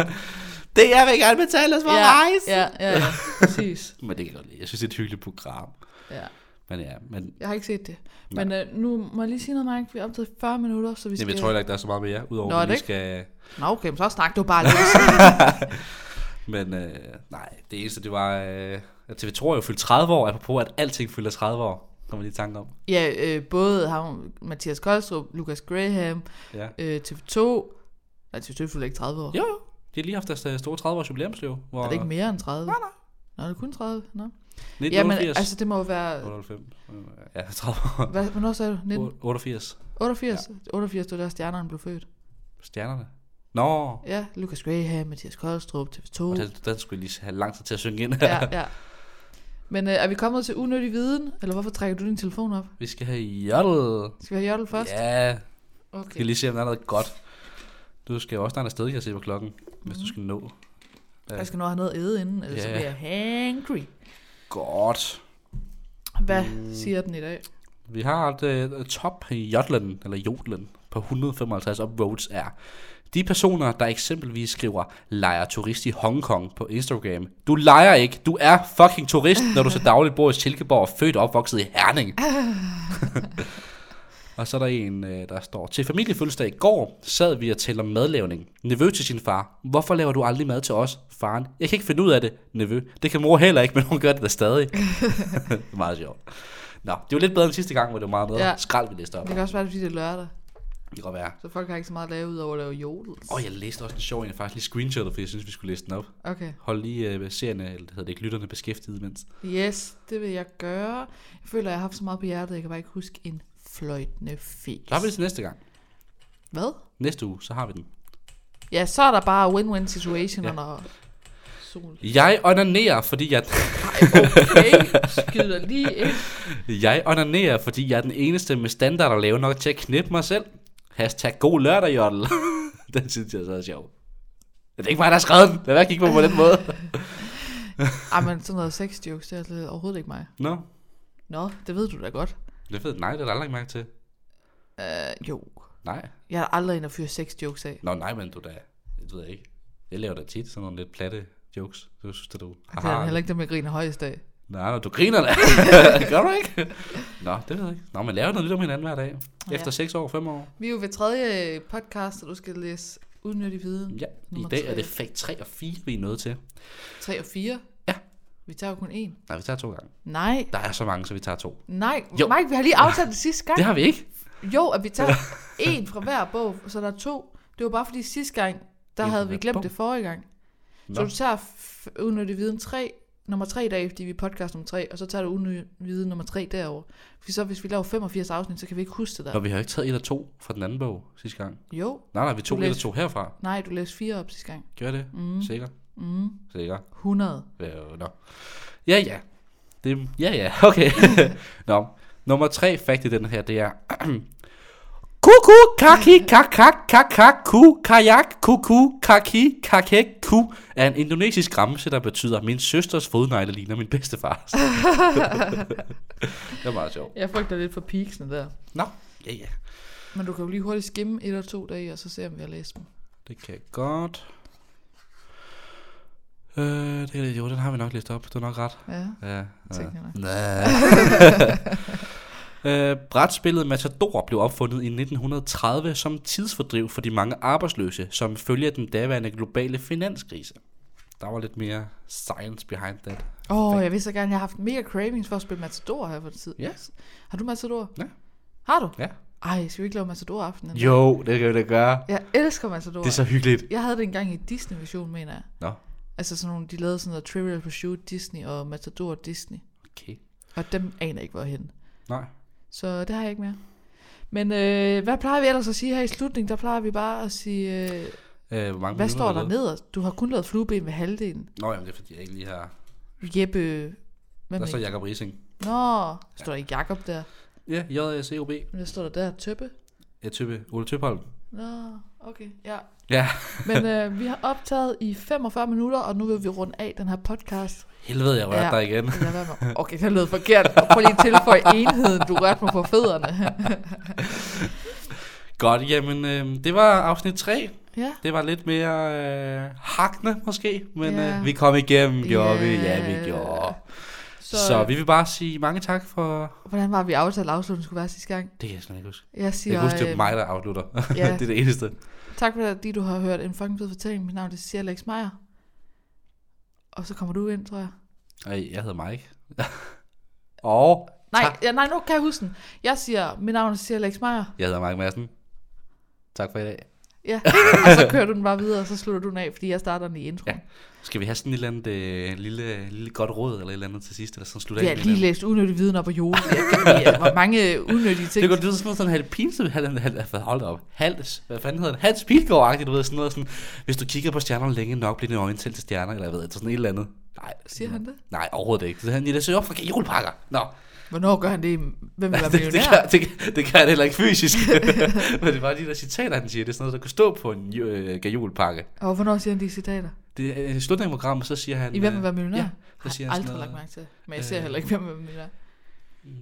S2: [LAUGHS] det er jeg vil gerne betale os for
S1: Ja,
S2: at rejse.
S1: ja, ja,
S2: [LAUGHS]
S1: ja, præcis.
S2: Men det kan jeg godt lide. Jeg synes, det er et hyggeligt program.
S1: Ja.
S2: Men ja, men
S1: Jeg har ikke set det. Men øh, nu må jeg lige sige noget, Mike. Vi er optaget i 40 minutter, så vi skal...
S2: Jamen, jeg tror heller ikke, der er så meget mere, udover
S1: Nå, er det
S2: at vi
S1: ikke?
S2: skal...
S1: Nå, okay, men så snak du bare lidt.
S2: Men øh, nej, det eneste, det var, øh, at TV2 er jo fyldt 30 år, apropos at alting fylder 30 år, kommer lige i tanke om.
S1: ja, øh, både ham, Mathias Koldstrup, Lucas Graham,
S2: Ja.
S1: øh, TV2... Nej, TV2 fylder ikke 30 år.
S2: Jo, jo. de har lige haft deres øh, store 30 års jubilæumsliv, hvor
S1: Er det ikke mere end 30? Nej,
S2: nej.
S1: Nå, det er kun 30. Nå. Jamen,
S2: 1988,
S1: altså, det må jo være...
S2: 98, øh, ja, [LAUGHS] 30 år,
S1: Hvad, hvornår sagde du? 19...
S2: 88,
S1: 88? Ja. 88, det var der, stjernerne blev født.
S2: stjernerne. Nå,
S1: Ja, Lucas Graham, Mathias Koldstrup, TV2.
S2: og den, den skulle jeg lige have lang tid til at synge ind.
S1: ja, ja. Men øh, er vi kommet til unødig viden? Eller hvorfor trækker du din telefon op?
S2: [LAUGHS] vi skal have Jottel.
S1: Skal vi have Jottel først?
S2: Ja, vi
S1: Okay.
S2: skal lige se, om der er noget godt. Du skal jo også snart afsted, kan jeg se på klokken, hvis du skal nå.
S1: Jeg skal nå at have noget at æde inden, ellers så
S2: Ja.
S1: bliver jeg hangry.
S2: Godt.
S1: Hvad siger den i dag?
S2: Vi har et øh, top jodlen, eller jodlen, på 155 upvotes er. De personer, der eksempelvis skriver, leger turist i Hongkong på Instagram. Du leger ikke, du er fucking turist, når du så dagligt bor i Silkeborg og født og opvokset i Herning. og så er der en, øh, der står, til familiefødselsdag i går sad vi og talte om madlavning. Nevø til sin far, hvorfor laver du aldrig mad til os, faren? Jeg kan ikke finde ud af det, nevø. Det kan mor heller ikke, men hun gør det da stadig. [LAUGHS] meget sjovt. Nå, det var lidt bedre end sidste gang, hvor det var meget bedre.
S1: Ja.
S2: Ja. Skrald, vi læste op.
S1: Det kan også være, det er, fordi det er lørdag,
S2: Det kan godt være.
S1: så folk har ikke så meget at lave ud over at lave jodels.
S2: Åh, oh, jeg læste også en sjov en, jeg faktisk lige screenshotet, for jeg synes, vi skulle læse den op.
S1: Okay,
S2: Hold lige øh, seerne, eller det hedder det ikke, lytterne beskæftiget mens.
S1: yes, det vil jeg gøre. Jeg føler, jeg har haft så meget på hjertet, jeg kan bare ikke huske en fløjtende fis.
S2: Så har vi det til næste gang.
S1: Hvad?
S2: Næste uge, så har vi den.
S1: Ja, så er der bare win-win situationer, ja. når sol...
S2: Jeg onanerer, fordi jeg, [LAUGHS]
S1: Okay, skyder lige ind.
S2: jeg onanerer, fordi jeg er den eneste med standard at lave nok til at knippe mig selv. Hashtag god lørdag, Jottel. [LAUGHS] den synes jeg så er sjov. Det er ikke mig, der har skrevet den. Lad være at kigge på mig på den måde.
S1: Ej, men sådan noget sex jokes, det er altså overhovedet ikke mig.
S2: Nå,
S1: Nå, det ved du da godt.
S2: det er fedt. Nej, det er der aldrig mærke til.
S1: Uh, jo,
S2: Nej.
S1: jeg har aldrig en at fyre sex jokes af.
S2: Nå, nej, men du da. Det ved jeg ikke. Jeg laver da tit sådan nogle lidt platte jokes. Du synes, det er du.
S1: Det er heller ikke dem, Altså, jeg griner højest af.
S2: Nej, nej, du griner
S1: [LAUGHS]
S2: da. Gør du ikke? Nå, det ved jeg ikke. Nå, men laver noget nyt om hinanden hver dag. Efter
S1: Ja.
S2: 6 år, 5 år.
S1: Vi er jo ved tredje podcast, og du skal læse udnyttig viden.
S2: Ja, i
S1: Nummer
S2: dag
S1: tre.
S2: er det fag 3 og 4, vi er nået til.
S1: 3 og 4.
S2: Ja.
S1: Vi tager jo kun én.
S2: Nej, vi tager to gange.
S1: Nej,
S2: Der er så mange, så vi tager to.
S1: nej. Jo.
S2: Jo.
S1: Mike, vi har lige aftalt det sidste gang.
S2: Det har vi ikke.
S1: Jo, at vi tager én fra hver bog, så der er to. Det var bare fordi sidste gang, der
S2: En fra
S1: havde vi
S2: hver
S1: glemt
S2: bog.
S1: det forrige gang. Så
S2: Nå.
S1: du tager f- unødig viden 3, nummer 3 i dag, fordi vi er podcast nummer 3, og så tager du unødig viden nummer 3 derover. For så hvis vi laver 85 afsnit, så kan vi ikke huske det
S2: Nå,
S1: der.
S2: vi har jo ikke taget et og to fra den anden bog sidste gang.
S1: Jo,
S2: Nej, nej, vi tog
S1: Du
S2: et og
S1: læste-
S2: to herfra.
S1: nej, du læste 4 op sidste gang.
S2: Gør det? Mm. Sikker?
S1: Mm,
S2: Sikker?
S1: 100.
S2: Øh, nå. Ja, ja. Det, ja, ja, [LAUGHS] okay. nå, nummer tre fakt i den her, det er... [CLEARS THROAT] Kuku, kaki, kakak, kakak, ku, kajak, kuku, kaki, kakek, ku, er en indonesisk ramse, der betyder, min søsters fodnegle ligner min bedstefars. det er meget sjovt.
S1: Jeg frygter lidt for peaksene der.
S2: Nå, ja, ja.
S1: Men du kan jo lige hurtigt skimme et eller to dage, og så se, om vi har læst dem.
S2: Det kan jeg godt. Øh, det, kan- jo, den har vi nok læst op. Du har nok ret.
S1: Ja.
S2: Ja,
S1: tænkte jeg
S2: ja. [LAUGHS] øh, brætspillet Matador blev opfundet i 1930 som tidsfordriv for de mange arbejdsløse, som følger den daværende globale finanskrise. Der var lidt mere science behind that.
S1: Åh, oh, jeg vil så gerne, jeg har haft mega cravings for at spille Matador her for tid.
S2: Ja.
S1: Har du Matador?
S2: Ja.
S1: Har du?
S2: Ja.
S1: Ej, skal vi ikke lave Matador aften?
S2: Jo, det kan vi da gøre.
S1: Jeg elsker Matador.
S2: Det er så hyggeligt.
S1: Jeg havde det engang i Disney-version, mener jeg.
S2: Nå.
S1: Altså sådan nogle, de lavede sådan noget Trivial Pursuit Disney og Matador Disney.
S2: Okay.
S1: Og dem aner jeg ikke, hvor hen.
S2: Nej.
S1: Så det har jeg ikke mere. Men øh, hvad plejer vi ellers at sige her i slutningen? Der plejer vi bare at sige, øh,
S2: Øh, hvor mange
S1: hvad
S2: minutter har
S1: står
S2: vi
S1: der
S2: lavet?
S1: nederst? Du har kun lavet flueben ved halvdelen.
S2: Nå, jamen, det er fordi, jeg ikke lige har...
S1: Jeppe, hvad
S2: Der
S1: med?
S2: står Jacob Rising.
S1: Nå, der står ikke Jakob der.
S2: Ja, j c o b
S1: Men der står der der, Tøppe.
S2: Ja, Tøppe. Ole Tøpholm.
S1: Nå, okay, ja.
S2: Ja.
S1: Men øh, vi har optaget i 45 minutter, og nu vil vi runde af den her podcast.
S2: Helvede, jeg rørte
S1: Ja.
S2: dig igen.
S1: Lad være med- Okay, det lød forkert. Prøv lige at tilføje enheden, du rørte mig på fødderne. [LAUGHS]
S2: Godt, jamen, øh, det var afsnit 3.
S1: ja,
S2: Det var lidt mere øh, hakne måske, men
S1: Ja.
S2: øh, vi kom igennem, gjorde vi. Ja,
S1: Ja.
S2: vi gjorde.
S1: så,
S2: Så, så vi vil bare sige mange tak for...
S1: hvordan var vi aftalt, at afslutningen skulle være sidste gang?
S2: Det kan jeg slet ikke huske.
S1: Jeg
S2: Jeg
S1: siger,
S2: kan huske, det er
S1: øh,
S2: mig, der afslutter. [LAUGHS]
S1: ja.
S2: det er det eneste.
S1: tak for at du har hørt en fucking fed fortælling. Mit navn er Cecilia Alex Meyer. Og så kommer du ind, tror jeg.
S2: Ej, jeg hedder Mike. [LAUGHS] Og
S1: Nej,
S2: Tak.
S1: ja, nej, nu kan jeg huske den. Jeg siger, mit navn er Cecilia Alex Meyer.
S2: jeg hedder Mike Madsen. Tak for i dag. [LAUGHS]
S1: Ja, og så kører du den bare videre, og så slutter du den af, fordi jeg starter den i introen.
S2: Ja. Skal vi have sådan et eller andet øh, lille, lille godt råd, eller et eller andet til sidst, eller sådan slutter
S1: Vi har
S2: af med
S1: lige
S2: et eller andet?
S1: læst unødig viden op og jorden. Jeg kan lide, hvor mange unødige ting.
S2: Det kunne lyde sådan noget sådan halvt pinsomt, halvt, halvt, halvt, hold da op, halvt, hvad fanden hedder det, Hans Pilgaard-agtigt, du ved, sådan noget sådan, hvis du kigger på stjernerne længe nok, bliver dine øjne til til stjerner, eller jeg ved, sådan et eller andet. Nej,
S1: Siger han det?
S2: Nej, overhovedet ikke. Så han, jeg søger op for julepakker. Nå,
S1: Hvornår gør han det? Hvem vil være
S2: [LAUGHS] det, det,
S1: millionær?
S2: kan, det, kan- det kan han heller ikke fysisk. [LAUGHS] Men det er bare de der citater, han siger. Det er sådan noget, der kan stå på en ju- øh, gajolpakke.
S1: Og hvornår siger han de citater?
S2: Det er øh, i slutningen af programmet, så siger han...
S1: I hvem vil
S2: øh,
S1: være millionær?
S2: Ja, så
S1: har
S2: siger
S1: jeg
S2: han sådan
S1: aldrig lagt mærke
S2: noget,
S1: til. Men jeg ser
S2: Øh.
S1: heller ikke, hvem vil være millionær.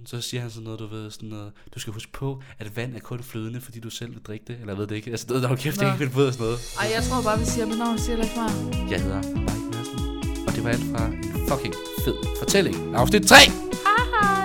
S2: så siger han sådan noget, du ved, sådan noget, du skal huske på, at vand er kun flydende, fordi du selv vil drikke det, eller jeg ved det ikke. Altså, det er der kæft, det
S1: Nå.
S2: ikke vil bryde og sådan noget.
S1: Ej, jeg tror bare, vi siger, at mit navn siger ikke meget.
S2: Jeg hedder Mike Madsen, og det var alt fra en fucking fed fortælling. Afsnit 3!
S1: Hej!